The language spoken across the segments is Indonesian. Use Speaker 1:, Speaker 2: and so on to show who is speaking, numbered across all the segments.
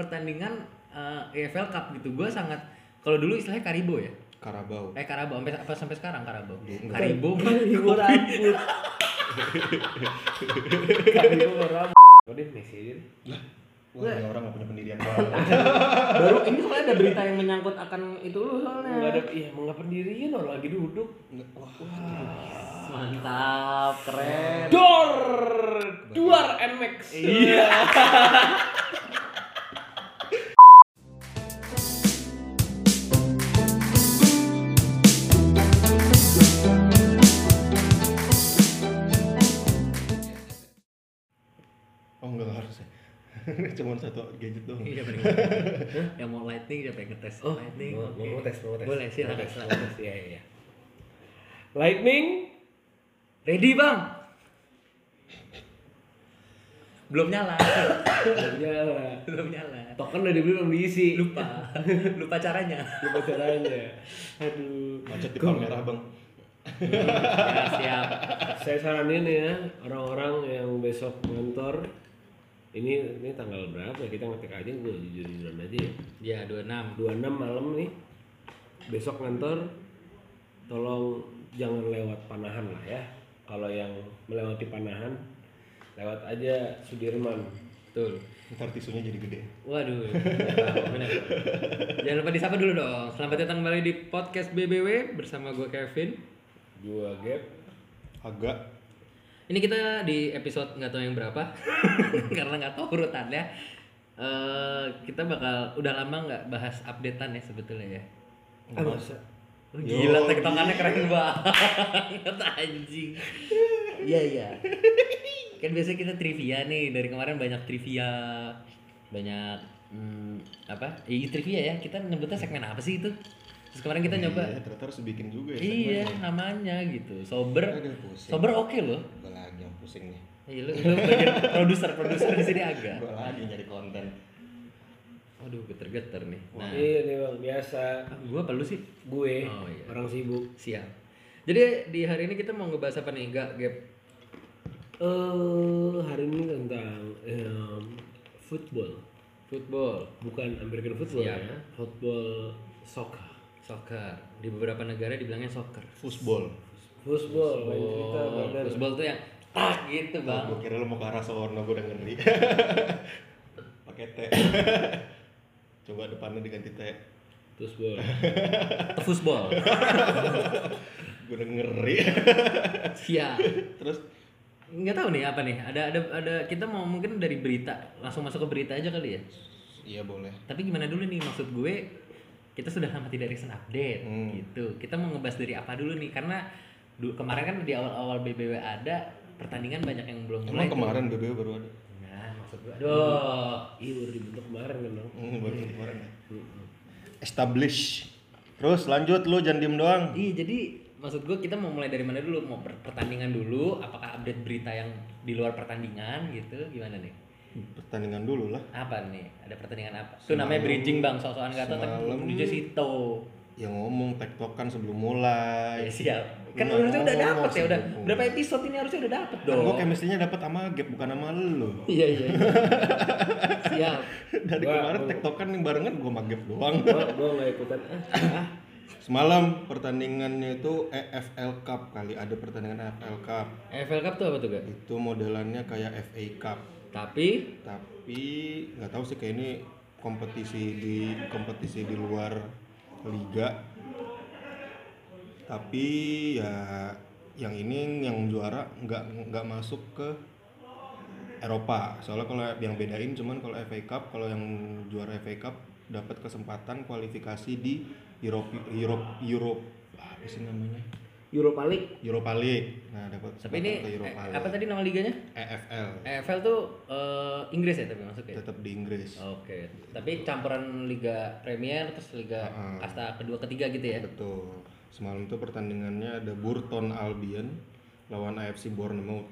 Speaker 1: pertandingan eh, EFL Cup gitu. Gue sangat kalau dulu istilahnya Karibo ya.
Speaker 2: Karabau.
Speaker 1: Eh Karabau sampai apa sampai sekarang Karabau.
Speaker 2: Dulu.
Speaker 1: Karibo.
Speaker 3: Karibo rambut.
Speaker 4: Karibu orang. Udah Messi aja. deh.
Speaker 2: Wah, ini orang gak punya pendirian banget.
Speaker 3: Baru ini soalnya ada berita yang menyangkut akan itu lu soalnya.
Speaker 4: Nggak ada, iya emang nggak pendirian orang lagi duduk.
Speaker 2: Wah,
Speaker 3: Mantap, keren.
Speaker 4: Dor, duar MX. Iya.
Speaker 2: oh enggak enggak harus. ya. Cuman satu gadget doang.
Speaker 1: Iya benar. Yang mau lightning siapa yang ngetes
Speaker 4: Oh,
Speaker 1: lightning?
Speaker 4: mau,
Speaker 1: oke.
Speaker 4: mau tes, mau tes.
Speaker 1: Boleh silakan.
Speaker 4: Mau tes,
Speaker 1: silakan.
Speaker 4: mau tes. Iya, iya. iya. Lightning,
Speaker 1: Ready bang? Belum nyala.
Speaker 4: Ternyata.
Speaker 1: Belum nyala.
Speaker 4: token Iya. kan udah dibeli belum diisi.
Speaker 1: Lupa. Lupa caranya.
Speaker 4: Lupa caranya. Aduh.
Speaker 2: Macet di Palmerah, Bang.
Speaker 1: Ya, siap.
Speaker 4: Saya saranin ya orang-orang yang besok ngantor ini ini tanggal berapa ya? kita ngetik aja gue jujur jujuran aja ya
Speaker 1: Ya 26.
Speaker 4: 26 malam nih besok ngantor tolong jangan lewat panahan lah ya kalau yang melewati panahan lewat aja Sudirman
Speaker 1: Betul.
Speaker 2: Ntar tisunya jadi gede.
Speaker 1: Waduh. benar. Jangan lupa disapa dulu dong. Selamat datang kembali di podcast BBW bersama gue Kevin.
Speaker 4: gua gap
Speaker 2: Agak
Speaker 1: Ini kita di episode nggak tahu yang berapa karena nggak tahu urutannya. Eh kita bakal udah lama nggak bahas updatean ya sebetulnya ya.
Speaker 4: masa
Speaker 1: Oh, gila tektokannya keren banget anjing. Iya iya. Kan biasanya kita trivia nih dari kemarin banyak trivia banyak hmm, apa? Iya trivia ya. Kita nyebutnya segmen apa sih itu? Terus kemarin kita nyoba
Speaker 2: Iya, ternyata harus bikin juga ya.
Speaker 1: iya namanya gitu. Sober.
Speaker 2: Aduh, pusing.
Speaker 1: Sober oke loh.
Speaker 2: Gue lagi yang pusing nih.
Speaker 1: Iya lu, lu bagian produser produser di sini agak.
Speaker 2: Gue lagi nyari konten.
Speaker 1: Waduh geter-geter nih. Nah,
Speaker 4: iya nih bang biasa
Speaker 1: ah, gua perlu sih
Speaker 4: gue
Speaker 1: Oh, iya.
Speaker 4: orang sibuk
Speaker 1: siap. Jadi di hari ini kita mau ngebahas apa nih? Gak gap.
Speaker 4: eh hari ini tentang em, football
Speaker 1: Football, Iya.
Speaker 4: bukan American football
Speaker 1: Siap.
Speaker 4: ya football soccer
Speaker 1: soccer. Di beberapa negara dibilangnya soccer.
Speaker 2: Foosball.
Speaker 4: football main cerita
Speaker 1: Oh,
Speaker 4: brother.
Speaker 1: football tuh yang tak gitu bang.
Speaker 2: Gue kira lo mau ke arah sono, gue udah ngeri. Pakai T. Coba depannya diganti T.
Speaker 4: football
Speaker 1: Football.
Speaker 2: Gue udah ngeri.
Speaker 1: Siap.
Speaker 2: Terus
Speaker 1: Nggak tahu nih apa nih. Ada ada ada kita mau mungkin dari berita langsung masuk ke berita aja kali ya.
Speaker 2: iya boleh.
Speaker 1: Tapi gimana dulu nih maksud gue kita sudah lama tidak recent update
Speaker 2: Hmm.
Speaker 1: gitu. Kita mau ngebahas dari apa dulu nih? Karena du- kemarin kan di awal-awal BBW ada pertandingan banyak yang belum mulai.
Speaker 2: Emang kemarin BBW baru ada.
Speaker 1: Nah, maksud gue aduh.
Speaker 4: iya baru dibentuk kemarin kan bang
Speaker 2: Hmm, baru kemarin. ya. Establish. Terus lanjut lu jangan diem doang.
Speaker 1: Iya, jadi maksud gue kita mau mulai dari mana dulu? Mau per- pertandingan dulu? Apakah update berita yang di luar pertandingan gitu? Gimana nih?
Speaker 2: Pertandingan dulu lah.
Speaker 1: Apa nih? Ada pertandingan apa? Itu namanya bridging bang, soal-soal nggak tahu tapi
Speaker 2: semalam-
Speaker 1: menuju situ.
Speaker 2: Ya ngomong tektokan sebelum mulai.
Speaker 1: Ya siap. Kan
Speaker 2: Nggak
Speaker 1: harusnya udah
Speaker 2: ngomong
Speaker 1: dapet ya udah.
Speaker 2: sebelum-
Speaker 1: Berapa episode ini harusnya udah dapet
Speaker 2: Kan
Speaker 1: dong.
Speaker 2: gue chemistry-nya dapat sama Gap bukan sama lu.
Speaker 1: Iya iya. iya. Siap.
Speaker 2: Dari
Speaker 4: Gua-
Speaker 2: kemarin
Speaker 4: gua-
Speaker 2: tektokan yang barengan gue sama Gap doang.
Speaker 4: gua gua nggak ikutan
Speaker 1: Eh,
Speaker 4: ah, ah.
Speaker 2: Semalam pertandingannya itu EFL Cup kali ada pertandingan EFL Cup.
Speaker 1: EFL Cup tuh apa tuh, Gak?
Speaker 2: Itu modelannya kayak FA Cup,
Speaker 1: Tapi
Speaker 2: tapi nggak tahu sih kayak ini kompetisi di kompetisi di luar liga. Tapi ya yang ini yang juara nggak nggak masuk ke Eropa. Soalnya kalau yang bedain cuman kalau FA Cup, kalau yang juara FA Cup dapat kesempatan kualifikasi di Europe Europe Europe apa sih namanya?
Speaker 4: Europa League
Speaker 2: Europa League. Nah, dapat
Speaker 1: tapi
Speaker 2: kesempatan
Speaker 1: ini
Speaker 2: ke
Speaker 1: eh,
Speaker 2: Europa League. E
Speaker 1: apa tadi nama liganya?
Speaker 2: EFL
Speaker 1: EFL tuh eh, Inggris ya tapi masuknya.
Speaker 2: tetap di Inggris.
Speaker 1: Oke. Tapi campuran Liga Premier terus Liga
Speaker 2: Heeh.
Speaker 1: kasta kedua ketiga gitu ya.
Speaker 2: Betul. Semalam tuh pertandingannya ada Burton Albion lawan AFC Bournemouth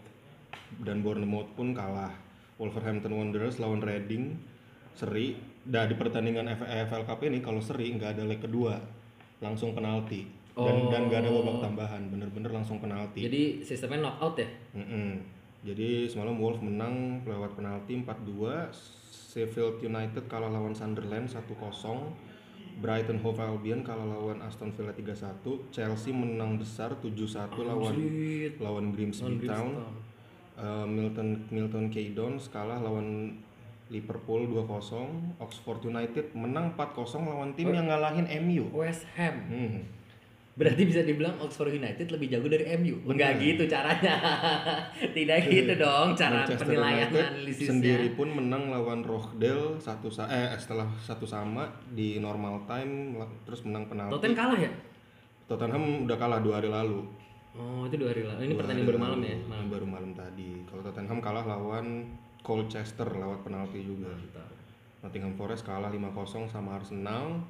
Speaker 2: dan Bournemouth pun kalah. Wolverhampton Wanderers lawan Reading seri. Dan di pertandingan EFL Cup ini kalau seri nggak ada leg kedua, langsung penalti. Dan dan nggak ada babak tambahan, bener-bener langsung penalti.
Speaker 1: Jadi sistemnya knockout ya.
Speaker 2: Mm-mm. Jadi semalam Wolf menang lewat penalti 4-2, Sheffield United kalah lawan Sunderland 1-0, Brighton Hove Albion kalah lawan Aston Villa 3-1, Chelsea menang besar 7-1 lawan lawan
Speaker 1: Lawan
Speaker 2: Grimsby Town.
Speaker 1: Town.
Speaker 2: Eh, Milton Milton K Dons kalah lawan Liverpool 2-0, Oxford United menang 4-0 lawan tim yang ngalahin MU.
Speaker 1: West Ham.
Speaker 2: Hmm.
Speaker 1: Berarti bisa dibilang Oxford United lebih jago dari MU. Enggak gitu caranya. Tidak gitu dong cara
Speaker 2: Iya, Manchester
Speaker 1: penilaian
Speaker 2: United
Speaker 1: analisisnya.
Speaker 2: sendiri pun menang lawan Rochdale satu sa- eh setelah satu sama di normal time la- terus menang penalti.
Speaker 1: Tottenham kalah ya?
Speaker 2: Tottenham udah kalah dua hari lalu.
Speaker 1: Oh, itu dua hari lalu. Ini
Speaker 2: Dua
Speaker 1: pertandingan
Speaker 2: hari
Speaker 1: baru malam
Speaker 2: lalu,
Speaker 1: ya? Malam.
Speaker 2: Baru malam tadi. Kalau Tottenham kalah lawan Colchester lewat penalti juga. Nottingham Forest kalah 5-0 sama Arsenal.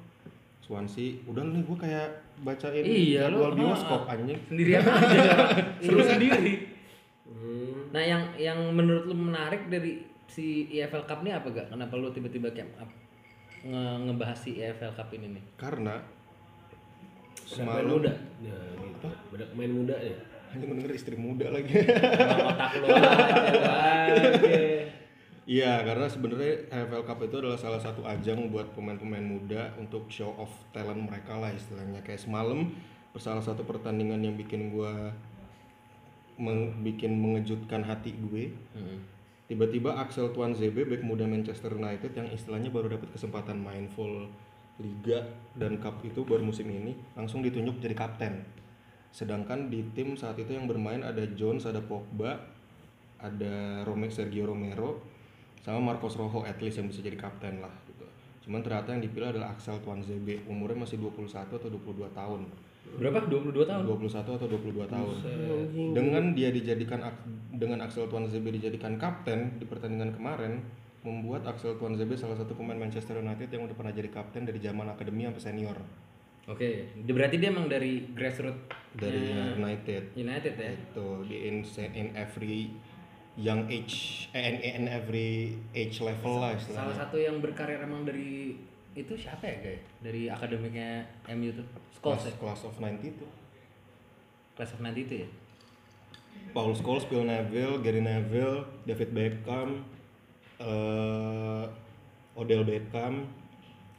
Speaker 2: Swansea, udah nih gue kayak bacain
Speaker 1: Iya,
Speaker 2: jadwal
Speaker 1: lo-
Speaker 2: bioskop anjing.
Speaker 1: Sendirian aja.
Speaker 2: Iya.
Speaker 3: Seru sendiri.
Speaker 4: Hmm.
Speaker 1: Nah, yang yang menurut lu menarik dari si EFL Cup ini apa gak? Kenapa lu tiba-tiba camp up nge- ngebahas si EFL Cup ini nih?
Speaker 2: Karena
Speaker 4: Main
Speaker 2: semalam
Speaker 4: muda. Nah, gitu. Budak main muda ya.
Speaker 2: hanya mendengar istri muda lagi.
Speaker 1: Bang otak lu aja, Bang.
Speaker 2: Iya, karena sebenarnya AFL Cup itu adalah salah satu ajang buat pemain-pemain muda untuk show off talent mereka lah istilahnya. Kayak semalam salah satu pertandingan yang bikin gua meng- bikin mengejutkan hati gue.
Speaker 1: Mm.
Speaker 2: Tiba-tiba Axel Tuan ZB back muda Manchester United yang istilahnya baru dapat kesempatan main full liga dan cup itu baru musim ini langsung ditunjuk jadi kapten. Sedangkan di tim saat itu yang bermain ada Jones, ada Pogba, ada Rome, Sergio Romero sama Marcos Rojo at least yang bisa jadi kapten lah gitu. Cuman ternyata yang dipilih adalah Axel Tuan ZB umurnya masih 21 atau 22 tahun.
Speaker 1: Berapa? 22 tahun?
Speaker 2: 21 atau 22 tahun. Dengan dia dijadikan ak- dengan Axel Tuan ZB dijadikan kapten di pertandingan kemarin membuat Axel Tuan ZB salah satu pemain Manchester United yang udah pernah jadi kapten dari zaman akademi sampai senior
Speaker 1: Oke, dia- berarti dia emang dari grassroots
Speaker 2: dari
Speaker 1: Iya.
Speaker 2: United.
Speaker 1: United ya?
Speaker 2: Itu di in, in every young age eh, in, in every age level lah
Speaker 1: Salah
Speaker 2: istilahnya.
Speaker 1: satu yang berkarir emang dari itu siapa ya guys? Dari akademiknya MU tuh? Scholes ya?
Speaker 2: Class, class of 90 itu.
Speaker 1: Class of 90 itu ya?
Speaker 2: Paul Scholes, Bill Neville, Gary Neville, David Beckham, eh Odell Beckham,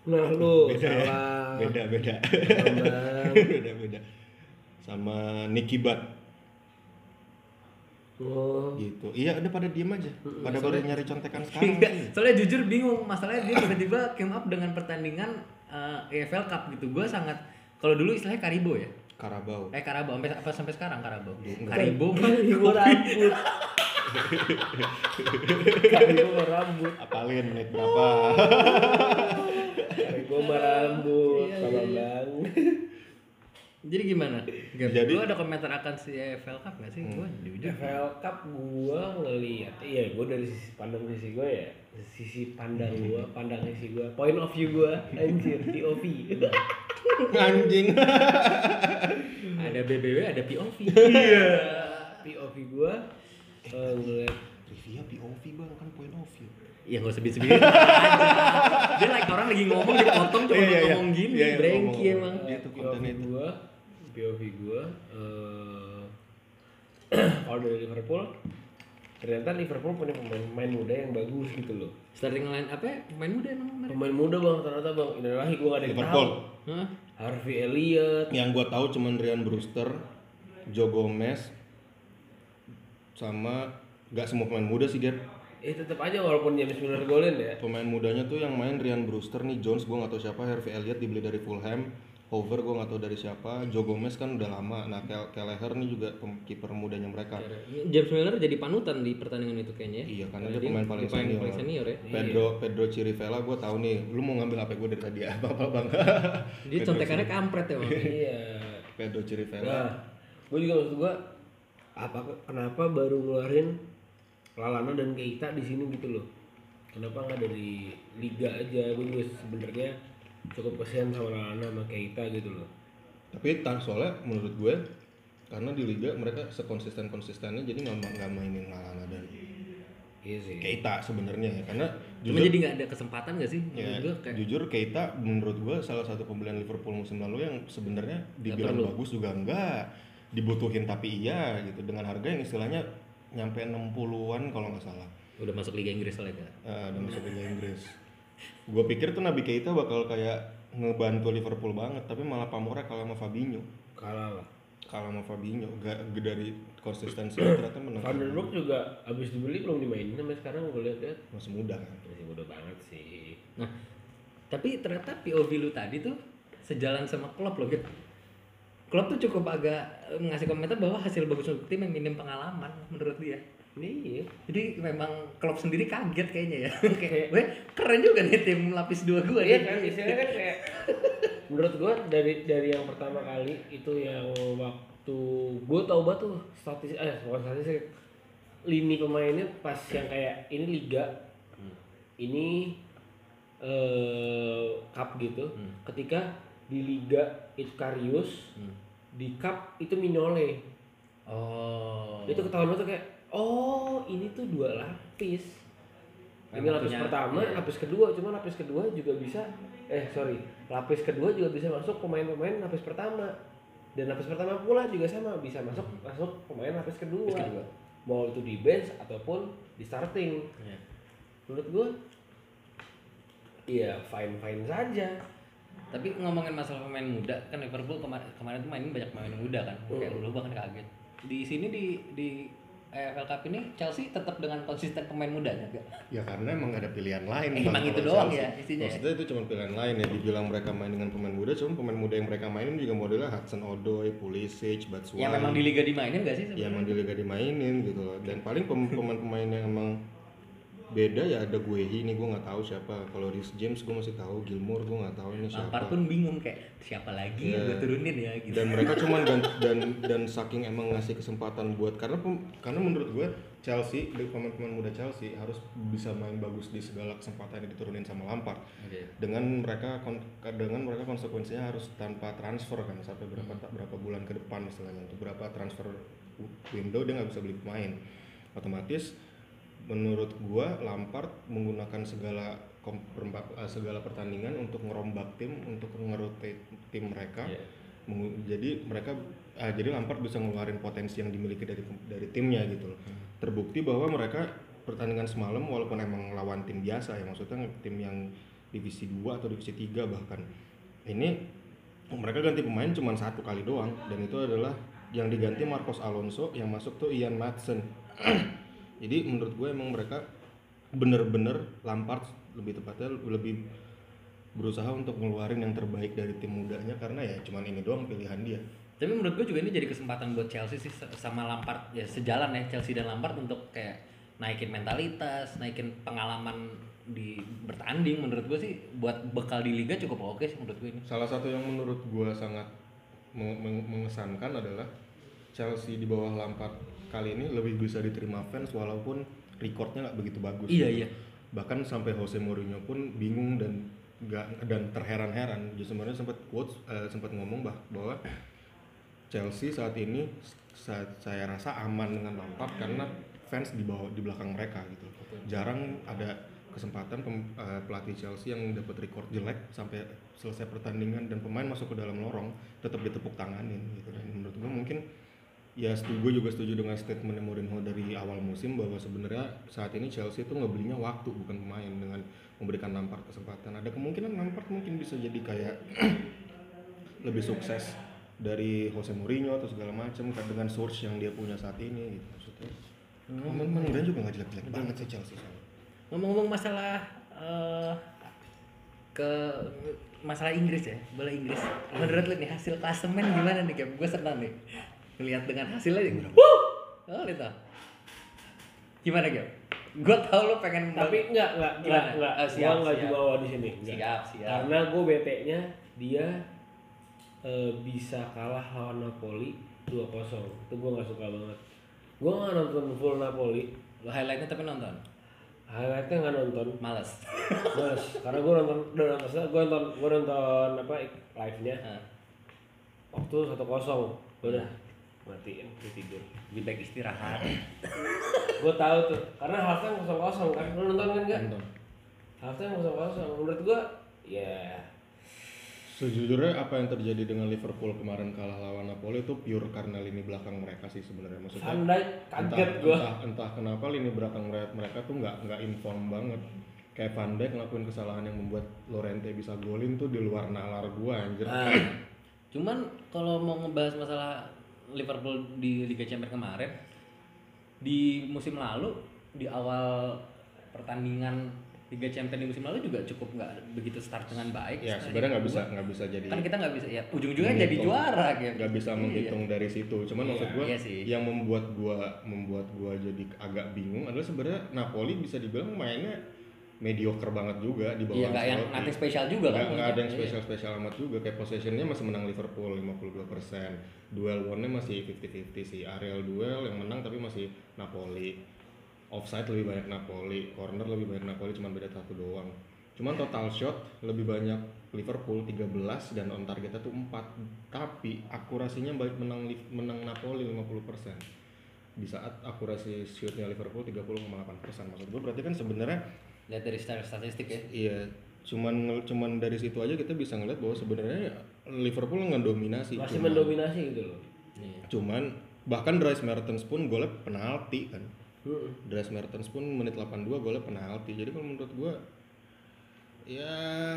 Speaker 4: Nah, lu
Speaker 2: beda ya
Speaker 4: salah.
Speaker 2: beda beda
Speaker 4: Bambang.
Speaker 2: beda beda sama Nicky Butt
Speaker 4: Oh.
Speaker 2: gitu iya udah pada diem aja pada baru nyari contekan sekarang
Speaker 1: Enggak, soalnya jujur bingung masalahnya dia tiba-tiba came up dengan pertandingan eh, EFL Cup gitu. Gue sangat kalau dulu istilahnya Karibo ya.
Speaker 2: Karabau
Speaker 1: Eh Karabau sampai apa sampai sekarang Karabau.
Speaker 2: Enggak.
Speaker 1: Karibo.
Speaker 4: Karibo rambut. Karibo rambut.
Speaker 2: apalin menit berapa
Speaker 4: Karibo rambut. Tolong bang.
Speaker 1: Jadi gimana? Jadi Hmm.
Speaker 2: Jadi-
Speaker 1: lu ada komentar akan si EFL Cup gak sih? Gue jujur.
Speaker 2: Iya.
Speaker 4: FL Cup gua ngelihat, iya gua dari sisi pandang sisi gua ya, sisi pandang
Speaker 2: Hmm.
Speaker 4: gua, pandang sisi gua, point of view gua, anjir, POV.
Speaker 2: anjing
Speaker 1: Ada BBW, ada POV. Iya.
Speaker 4: POV gua eh, ngeliat
Speaker 2: trivia POV bang kan point of view
Speaker 1: Ya gak usah bisik Dia like orang lagi ngomong dipotong cuma
Speaker 2: Iya, iya, iya.
Speaker 1: ngomong gini,
Speaker 2: Iya, iya,
Speaker 1: brengki
Speaker 2: ngomong.
Speaker 1: emang.
Speaker 2: Dia tuh
Speaker 4: POV
Speaker 2: kontennya tuh.
Speaker 4: gua, POV gua, eh, kalau dari Liverpool, ternyata Liverpool punya pemain, pemain muda yang bagus gitu loh.
Speaker 1: Starting line apa? ya? Pemain muda emang kemarin.
Speaker 4: Pemain muda bang, ternyata bang, Innalillahi gua gak ada yang tahu.
Speaker 2: Liverpool
Speaker 1: Hah?
Speaker 4: Harvey Elliott,
Speaker 2: yang gua tahu cuman Ryan Brewster Joe Gomez sama nggak semua pemain muda sih Gap
Speaker 4: eh tetap aja walaupun James Miller golin ya,
Speaker 2: pemain mudanya tuh yang main Ryan Brewster nih Jones gue nggak tahu siapa Harvey Elliott dibeli dari Fulham Hover gue nggak tahu dari siapa Joe Gomez kan udah lama nah Kel Kelleher nih juga pem- kiper mudanya mereka
Speaker 1: Iya. James Miller jadi panutan di pertandingan itu kayaknya. ya.
Speaker 2: iya karena
Speaker 1: Karena
Speaker 2: dia
Speaker 1: dia
Speaker 2: pemain paling
Speaker 1: dia pemain
Speaker 2: senior,
Speaker 1: paling senior ya.
Speaker 2: Pedro Pedro Chirivella gue tahu nih lu mau ngambil HP gue dari tadi apa apa bang
Speaker 1: Dia contekannya kampret ya, Bang.
Speaker 4: iya.
Speaker 2: Pedro Chirivella
Speaker 4: Nah, gue juga maksud gue apa kenapa baru ngeluarin Lalana dan Keita di sini gitu loh? Kenapa nggak dari liga aja? Gue juga sebenarnya cukup kesian sama Lalana sama Keita gitu loh.
Speaker 2: tapi tan soalnya menurut gue karena di liga mereka sekonsisten konsistennya jadi nggak nggak mainin Alana dan
Speaker 4: Iya sih.
Speaker 2: Keita sebenarnya ya karena
Speaker 1: Cuma jadi nggak ada kesempatan gak sih?
Speaker 2: Ya,
Speaker 1: Menurut gua kayak
Speaker 2: jujur Keita menurut gue salah satu pembelian Liverpool musim lalu yang sebenarnya dibilang bagus juga enggak dibutuhin tapi iya gitu dengan harga yang istilahnya nyampe 60-an kalau nggak salah.
Speaker 1: Udah masuk Liga Inggris lah ya.
Speaker 2: Eh, udah masuk Liga Inggris. Gue pikir tuh Nabi Keita bakal kayak ngebantu Liverpool banget, tapi malah Pamora kalah sama Fabinho.
Speaker 4: kalah lah
Speaker 2: Kalah sama Fabinho, gak dari konsistensi ternyata menang.
Speaker 4: Van der Broek juga abis dibeli belum dimainin sampai sekarang gue lihat ya
Speaker 2: Masih muda kan.
Speaker 4: masih muda banget sih
Speaker 1: Nah, tapi ternyata POV lu tadi tuh sejalan sama Klopp loh. Git. Klopp tuh cukup agak eh, ngasih komentar bahwa hasil bagus untuk tim yang minim pengalaman menurut dia.
Speaker 4: ini iya
Speaker 1: Jadi memang Klopp sendiri kaget kayaknya ya. Kayak, weh keren juga nih tim lapis dua gua ya."
Speaker 4: iya
Speaker 1: nih."
Speaker 4: kan istilahnya kan kayak menurut gue dari dari yang pertama kali itu yang waktu gue tau banget tuh statis eh bukan statistik lini pemainnya pas yang kayak ini liga
Speaker 1: Hmm.
Speaker 4: ini eh cup gitu
Speaker 1: Hmm.
Speaker 4: ketika di liga itu Karius
Speaker 1: Hmm.
Speaker 4: di cup itu Minole
Speaker 1: Oh.
Speaker 4: itu ketahuan banget tuh kayak oh ini tuh dua lapis ini
Speaker 1: Emang
Speaker 4: lapis
Speaker 1: punya-
Speaker 4: pertama
Speaker 1: iya.
Speaker 4: lapis kedua cuma lapis kedua juga bisa eh sorry lapis kedua juga bisa masuk pemain-pemain lapis pertama dan lapis pertama pula juga sama bisa masuk masuk pemain lapis kedua,
Speaker 1: Lapis kedua.
Speaker 4: mau itu di bench ataupun di starting
Speaker 1: Iya.
Speaker 4: menurut gua iya fine fine saja
Speaker 1: Tapi ngomongin masalah pemain muda, kan Liverpool kemarin kemarin tuh mainin banyak pemain muda kan. Kayak lu bahkan kaget. Di sini di di AFL Cup ini Chelsea tetap dengan konsisten pemain mudanya gak?
Speaker 2: Ya karena emang gak ada pilihan lain.
Speaker 1: Eh,
Speaker 2: Bang,
Speaker 1: emang itu
Speaker 2: kalau
Speaker 1: doang
Speaker 2: Chelsea.
Speaker 1: ya isinya ya?
Speaker 2: Maksudnya itu cuma pilihan lain ya. Dibilang mereka main dengan pemain muda, cuma pemain muda yang mereka mainin juga modelnya Hudson Odoi, Pulisic, Batshuayi.
Speaker 1: Yang Ya, memang di liga dimainin gak sih
Speaker 2: ya
Speaker 1: sebenarnya?
Speaker 2: emang di liga dimainin gitu loh dan paling pem- pemain-pemain yang emang beda ya ada gue ini gue nggak tahu siapa kalau Rhys James gue masih tahu Gilmore gue nggak tahu ini siapa
Speaker 1: Lampard pun bingung kayak siapa lagi yang gue turunin ya gitu.
Speaker 2: dan mereka cuman gan- dan dan saking emang ngasih kesempatan buat karena pem- karena menurut gue Chelsea dari pemain-pemain muda Chelsea harus bisa main bagus di segala kesempatan yang diturunin sama Lampard dengan mereka kon- dengan mereka konsekuensinya harus tanpa transfer kan sampai berapa ta- berapa bulan ke depan istilahnya untuk berapa transfer w- window dia nggak bisa beli pemain otomatis menurut gua Lampard menggunakan segala kom- peremba- eh, segala pertandingan untuk ngerombak tim untuk ngerotate tim mereka Mengu- jadi mereka ah, jadi Lampard bisa ngeluarin potensi yang dimiliki dari dari timnya gitu loh. Terbukti bahwa mereka pertandingan semalam walaupun emang lawan tim biasa ya maksudnya tim yang divisi 2 atau divisi 3 bahkan ini mereka ganti pemain cuma satu kali doang dan itu adalah yang diganti Marcos Alonso yang masuk tuh Ian Madsen jadi menurut gue emang mereka bener-bener Lampard lebih tepatnya lebih berusaha untuk ngeluarin yang terbaik dari tim mudanya karena ya cuman ini doang pilihan dia
Speaker 1: Tapi menurut gue juga ini jadi kesempatan buat Chelsea sih se- sama Lampard ya sejalan ya Chelsea dan Lampard untuk kayak naikin mentalitas, naikin pengalaman di bertanding menurut gue sih buat bekal di liga cukup oke sih menurut gue ini.
Speaker 2: salah satu yang menurut gua sangat meng- meng- mengesankan adalah Chelsea di bawah Lampard kali ini lebih bisa diterima fans walaupun recordnya nggak begitu bagus gitu.
Speaker 1: Iya, iya.
Speaker 2: bahkan sampai Jose Mourinho pun bingung dan nggak dan terheran-heran dia sebenarnya sempat quotes eh, sempat ngomong bah- bahwa Chelsea saat ini sa- saya rasa aman dengan Lampard karena fans di bawah di belakang mereka gitu. Jarang ada kesempatan pem- eh, pelatih Chelsea yang dapat record jelek sampai selesai pertandingan dan pemain masuk ke dalam lorong tetap ditepuk tanganin gitu. Dan menurut gue mungkin ya setuju gue juga setuju dengan statement Mourinho dari awal musim bahwa sebenarnya saat ini Chelsea itu ngebelinya waktu bukan pemain dengan memberikan Lampard kesempatan. Ada kemungkinan Lampard mungkin bisa jadi kayak lebih sukses dari Jose Mourinho atau segala macam kan dengan source yang dia punya saat ini gitu maksudnya. Pemain pemain juga nggak jelek-jelek banget sih Chelsea soalnya.
Speaker 1: Ngomong-ngomong masalah eh, ke masalah Inggris ya, bola Inggris. Menurut lu nih hasil klasemen gimana nih, Gap? Gue senang nih ngelihat dengan hasilnya. Wuh! Oh, lihat tuh. Gimana, Gap? Gue tau lu pengen
Speaker 4: tapi enggak enggak enggak
Speaker 1: Gimana?
Speaker 4: enggak
Speaker 1: Eh, siap,
Speaker 4: gua enggak
Speaker 1: siap.
Speaker 4: jumawa di sini enggak.
Speaker 1: siap, siap.
Speaker 4: karena gue bete nya dia eh, bisa kalah lawan Napoli 2-0 itu gue nggak suka banget gue nggak nonton full Napoli
Speaker 1: Lu highlightnya tapi nonton.
Speaker 4: highlightnya nggak nonton
Speaker 1: Males.
Speaker 4: Mas, karena gue nonton udah nonton gue nonton gue nonton apa live nya
Speaker 1: Nah,
Speaker 4: waktu satu kosong udah matiin gue tidur
Speaker 1: Lebih baik istirahat.
Speaker 4: gue tahu tuh karena halftime kosong kosong kan lu nonton kan nggak halftime kosong kosong menurut gue ya
Speaker 2: Sejujurnya apa yang terjadi dengan Liverpool kemarin kalah lawan Napoli itu pure karena lini belakang mereka sih sebenarnya maksudnya.
Speaker 3: Van Dijk kaget
Speaker 2: entah,
Speaker 3: gua.
Speaker 2: entah, entah kenapa lini belakang mereka, mereka tuh nggak nggak inform banget. Kayak Van Dijk ngelakuin kesalahan yang membuat Lorente bisa golin tuh di luar nalar gua anjir.
Speaker 1: Nah, cuman kalau mau ngebahas masalah Liverpool di Liga Champions kemarin di musim lalu di awal pertandingan Liga Champions di musim lalu juga cukup nggak begitu start dengan baik.
Speaker 2: ya
Speaker 1: Nah,
Speaker 2: sebenarnya nggak
Speaker 1: gua-
Speaker 2: bisa nggak bisa jadi
Speaker 1: kan kita nggak bisa ya ujung-ujungnya jadi
Speaker 2: Menghitung.
Speaker 1: juara gitu.
Speaker 2: nggak bisa menghitung dari situ. Cuman maksud gua
Speaker 1: iya sih.
Speaker 2: yang membuat gua membuat gua jadi agak bingung adalah sebenarnya Napoli bisa dibilang mainnya mediocre banget juga di bawah
Speaker 1: Iya nggak yang
Speaker 2: Ancelotti.
Speaker 1: nanti spesial juga
Speaker 2: Nggak-
Speaker 1: kan.
Speaker 2: nggak ada yang
Speaker 1: Iya.
Speaker 2: spesial-spesial amat juga kayak possessionnya masih menang Liverpool 52% duel one-nya masih 50-50 sih aerial duel yang menang tapi masih Napoli offside lebih banyak Napoli corner lebih banyak Napoli cuman beda satu doang cuman total shot lebih banyak Liverpool 13 dan on targetnya tuh 4 tapi akurasinya baik menang Liv- menang Napoli 50% di saat akurasi shootnya Liverpool 30,8% maksud gue berarti kan sebenarnya
Speaker 1: Lihat dari secara statistik ya.
Speaker 2: Iya, cuman ngel- cuman dari situ aja kita bisa ngeliat bahwa sebenarnya ya Liverpool ngedominasi.
Speaker 4: masih
Speaker 2: cuman,
Speaker 4: mendominasi gitu loh
Speaker 1: Iya.
Speaker 2: cuman bahkan Dries Mertens pun golnya penalti kan.
Speaker 1: Hmm.
Speaker 4: Heeh.
Speaker 2: Dries Mertens pun menit 82 golnya penalti. Jadi kalau menurut gua ya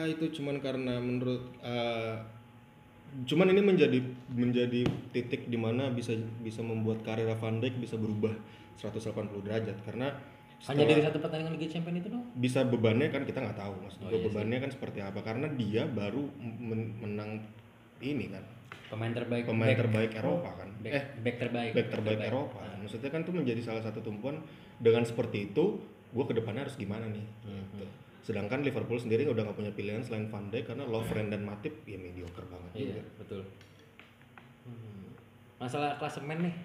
Speaker 2: itu cuman karena menurut eh, cuman ini menjadi menjadi titik di mana bisa bisa membuat karir Van Dijk bisa berubah 180 derajat karena
Speaker 1: Hanya
Speaker 2: setelah-
Speaker 1: dari satu pertandingan Liga Champions itu doang.
Speaker 2: bisa bebannya kan kita nggak tahu maksud
Speaker 1: Oh,
Speaker 2: gua
Speaker 1: iya
Speaker 2: bebannya kan seperti apa karena dia baru men- menang ini kan
Speaker 1: Pemain terbaik.
Speaker 2: pemain
Speaker 1: back-
Speaker 2: terbaik Eropa kan
Speaker 1: Back,
Speaker 2: eh
Speaker 1: back Nah. terbaik.
Speaker 2: back terbaik Eropa maksudnya kan itu menjadi salah satu tumpuan dengan seperti itu gue kedepannya harus gimana nih
Speaker 1: Hmm.
Speaker 2: gitu. sedangkan Liverpool sendiri udah nggak punya pilihan selain Van Dijk karena Lovren dan Matip ya mediocre banget
Speaker 1: Nah. Iya,
Speaker 2: juga.
Speaker 1: betul. Hmm. Masalah klasemen nih.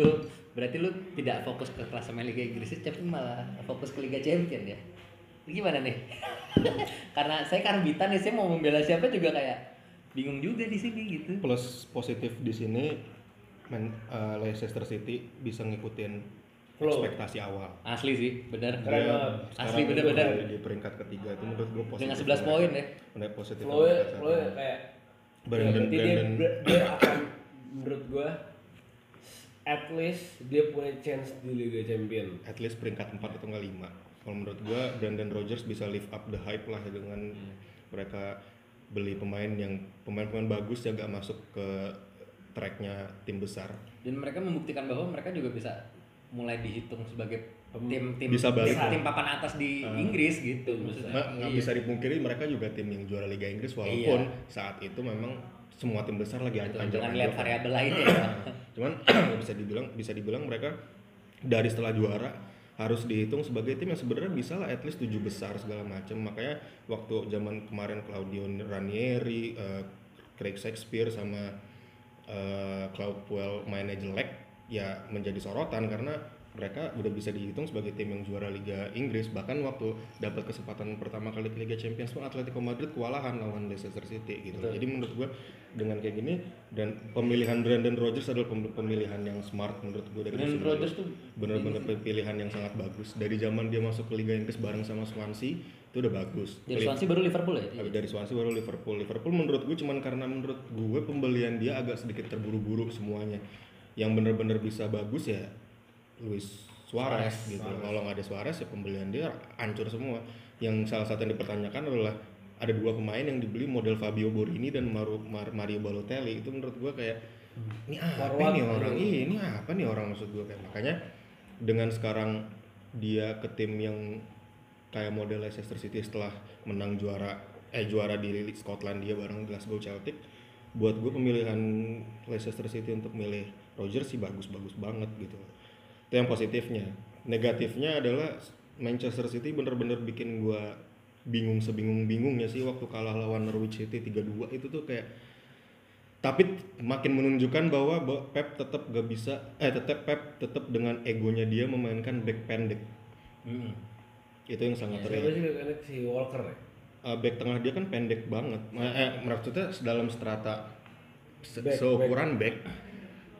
Speaker 1: Lu berarti lu tidak fokus ke klasemen Liga Inggris tapi malah fokus ke Liga Champion ya. Gimana nih? karena saya karbitan nih, saya mau membela siapa juga kayak bingung juga di sini gitu.
Speaker 2: plus positif di sini Man- eh, Leicester City bisa ngikutin
Speaker 4: Flow.
Speaker 2: ekspektasi awal
Speaker 1: Asli sih, benar.
Speaker 4: Keren
Speaker 2: Dia
Speaker 4: banget.
Speaker 2: sekarang
Speaker 1: Iya. Asli,
Speaker 2: udah
Speaker 1: bener-bener.
Speaker 2: di- Di peringkat ketiga itu menurut gue positif.
Speaker 1: Dengan 11 poin ya.
Speaker 2: Udah positif.
Speaker 4: flow
Speaker 2: banget saat
Speaker 4: flow
Speaker 2: ini.
Speaker 4: kayak
Speaker 2: Brandon
Speaker 4: berarti dia,
Speaker 2: Brandon
Speaker 4: dia akan menurut gua at least dia punya chance di Liga Champion
Speaker 2: at least peringkat 4 atau enggak 5. Kalau menurut gue Brandon Rogers bisa lift up the hype lah dengan
Speaker 1: Hmm.
Speaker 2: mereka beli pemain yang pemain-pemain bagus yang gak masuk ke tracknya tim besar
Speaker 1: Dan mereka membuktikan bahwa mereka juga bisa mulai dihitung sebagai tim tim
Speaker 2: Bisa balik
Speaker 1: tim,
Speaker 2: lah.
Speaker 1: tim papan atas di Inggris gitu maksudnya.
Speaker 2: Nah, nggak bisa dipungkiri mereka juga tim yang juara Liga Inggris walaupun saat itu memang semua tim besar lagi
Speaker 1: Gitu,
Speaker 2: anjlok-anjlok.
Speaker 1: Iya. Jangan lihat variabel lainnya ya.
Speaker 2: cuman bisa dibilang bisa dibilang mereka dari setelah juara harus dihitung sebagai tim yang sebenarnya bisa lah at least tujuh besar segala macam makanya waktu zaman kemarin Claudio Ranieri, eh, Craig Shakespeare sama eh, Claude Puel mainnya jelek ya menjadi sorotan karena mereka udah bisa dihitung sebagai tim yang juara Liga Inggris bahkan waktu dapat kesempatan pertama kali ke Liga Champions pun Atletico Madrid kewalahan lawan Leicester City gitu loh. jadi menurut gue dengan kayak gini dan pemilihan Brandon Rodgers adalah pem- pemilihan yang smart menurut gue dari
Speaker 1: Dan
Speaker 2: musim lalu
Speaker 1: Rodgers tuh
Speaker 2: bener-bener pilihan yang sangat bagus dari zaman dia masuk ke Liga Inggris bareng sama Swansea itu udah bagus
Speaker 1: dari
Speaker 2: Peli-
Speaker 1: Swansea baru Liverpool ya.
Speaker 2: Habis dari Swansea baru Liverpool Liverpool menurut gue cuman karena menurut gue pembelian dia agak sedikit terburu-buru semuanya yang bener-bener bisa bagus ya Luis Suarez, gitu kalau nggak ada Suarez ya pembelian dia hancur semua yang salah satu yang dipertanyakan adalah ada dua pemain yang dibeli model Fabio Borini dan Maru- Mar- Mario Balotelli itu menurut gue kayak ini apa
Speaker 4: Forward,
Speaker 2: nih orang
Speaker 4: iya.
Speaker 2: Iya, ini apa nih orang maksud gue kayak makanya dengan sekarang dia ke tim yang kayak model Leicester City setelah menang juara eh juara di Liga Skotlandia bareng Glasgow Celtic buat gue pemilihan Leicester City untuk milih Rodgers sih bagus-bagus banget gitu itu yang positifnya negatifnya adalah Manchester City bener-bener bikin gue bingung sebingung-bingungnya sih waktu kalah lawan Norwich City 3-2 itu tuh kayak tapi makin menunjukkan bahwa Bo- Pep tetap gak bisa eh tetap Pep tetap dengan egonya dia memainkan back pendek
Speaker 1: Mm.
Speaker 2: itu yang sangat
Speaker 4: Iya, siapa
Speaker 2: terlihat
Speaker 4: sih anak si Walker ya
Speaker 2: Eh, back tengah dia kan pendek banget Ma- eh, maksudnya dalam strata se-
Speaker 4: Back,
Speaker 2: seukuran back.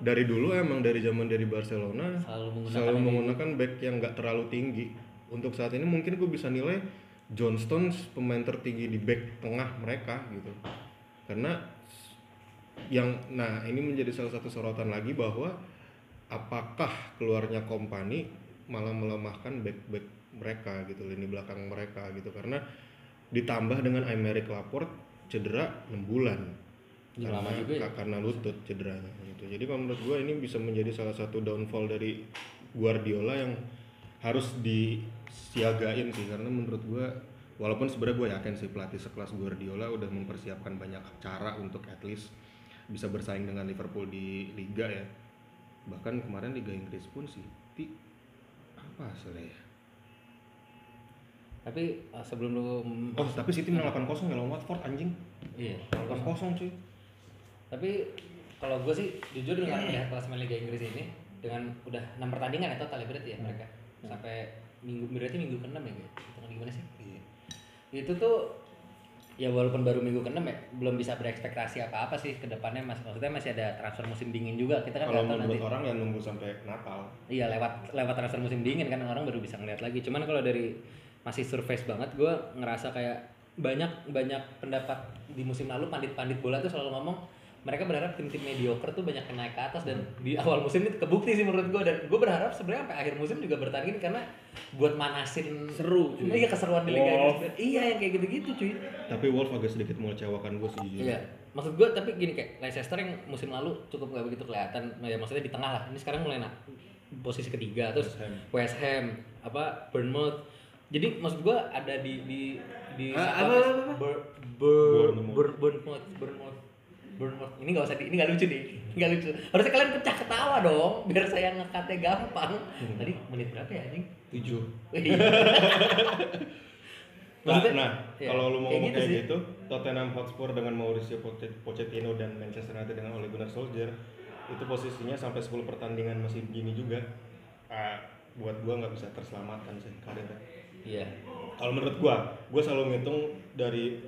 Speaker 2: dari dulu emang dari zaman dari Barcelona
Speaker 1: Selalu menggunakan
Speaker 2: Hmm. selalu
Speaker 1: ini.
Speaker 2: menggunakan back yang nggak terlalu tinggi untuk saat ini mungkin gue bisa nilai John Stones pemain tertinggi di back tengah mereka gitu karena yang nah ini menjadi salah satu sorotan lagi bahwa apakah keluarnya company malah melemahkan back back mereka gitu lini belakang mereka gitu karena ditambah dengan Aymeric Laporte cedera 6 bulan
Speaker 1: Ya,
Speaker 2: karena,
Speaker 1: lama juga ya.
Speaker 2: karena lutut cederanya gitu. Jadi kalau menurut gue ini bisa menjadi salah satu downfall dari Guardiola yang harus disiagain sih karena menurut gue walaupun sebenarnya gue yakin sih pelatih sekelas Guardiola udah mempersiapkan banyak cara untuk at least bisa bersaing dengan Liverpool di liga ya. Bahkan kemarin Liga Inggris pun City apa hasilnya ya?
Speaker 1: Tapi eh, sebelum lu mm,
Speaker 2: Oh, tapi City menang 8-0 ya lawan Watford anjing.
Speaker 1: iya.
Speaker 2: 8-0 cuy.
Speaker 1: Tapi kalau gue sih jujur dengan melihat klasemen Liga Inggris ini dengan udah enam pertandingan ya total ya berarti ya mereka sampai minggu berarti minggu ke-6 ya guys. Hitungan gimana sih? Iya. Itu tuh ya walaupun baru minggu ke-6 ya belum bisa berekspektasi apa-apa sih ke depannya Mas. Maksudnya masih ada transfer musim dingin juga. Kita kan
Speaker 2: Kalau
Speaker 1: nggak tahu nanti.
Speaker 2: menurut orang yang nunggu sampai Natal.
Speaker 1: Iya lewat lewat transfer musim dingin kan orang baru bisa ngeliat lagi. Cuman kalau dari masih surface banget gue ngerasa kayak banyak banyak pendapat di musim lalu pandit-pandit bola tuh selalu ngomong mereka berharap tim-tim mediocre tuh banyak yang naik ke atas dan di awal musim itu kebukti sih menurut gue dan gue berharap sebenarnya sampai akhir musim juga bertahan gini karena buat manasin
Speaker 4: Seru, cuy.
Speaker 1: iya keseruan di Liga
Speaker 4: Wow.
Speaker 1: Inggris iya yang kayak gitu-gitu cuy
Speaker 2: Tapi Wolf agak sedikit mengecewakan gue sih.
Speaker 1: Iya. Maksud gue tapi gini kayak Leicester yang musim lalu cukup nggak begitu kelihatan, ya maksudnya di tengah lah. Ini sekarang mulai na- posisi ketiga, terus
Speaker 2: West Ham.
Speaker 1: West Ham, apa Bournemouth. Jadi maksud gue ada di di di
Speaker 4: Ah, apa, apa, apa?
Speaker 1: Bur- Bur-
Speaker 2: Bournemouth.
Speaker 1: Bur- Bournemouth, Bournemouth, Bournemouth. Ini nggak usah di, ini nggak lucu nih, nggak lucu. Harusnya kalian pecah ketawa dong, biar saya ngekatnya gampang.
Speaker 2: Hmm.
Speaker 1: Tadi menit berapa ya anjing?
Speaker 2: 7. Nah,
Speaker 1: Maksudnya-
Speaker 2: nah
Speaker 1: Iya.
Speaker 2: kalau lu
Speaker 1: Kayak
Speaker 2: mau ngomong
Speaker 1: gitu
Speaker 2: kayak
Speaker 1: sih.
Speaker 2: gitu, Tottenham Hotspur dengan Mauricio Poche- Pochettino dan Manchester United dengan Ole Gunnar Solskjaer itu posisinya sampai 10 pertandingan masih begini juga. Ah, buat gua nggak bisa terselamatkan sih karirnya.
Speaker 1: Iya.
Speaker 2: Kalau menurut gua, gua selalu ngitung dari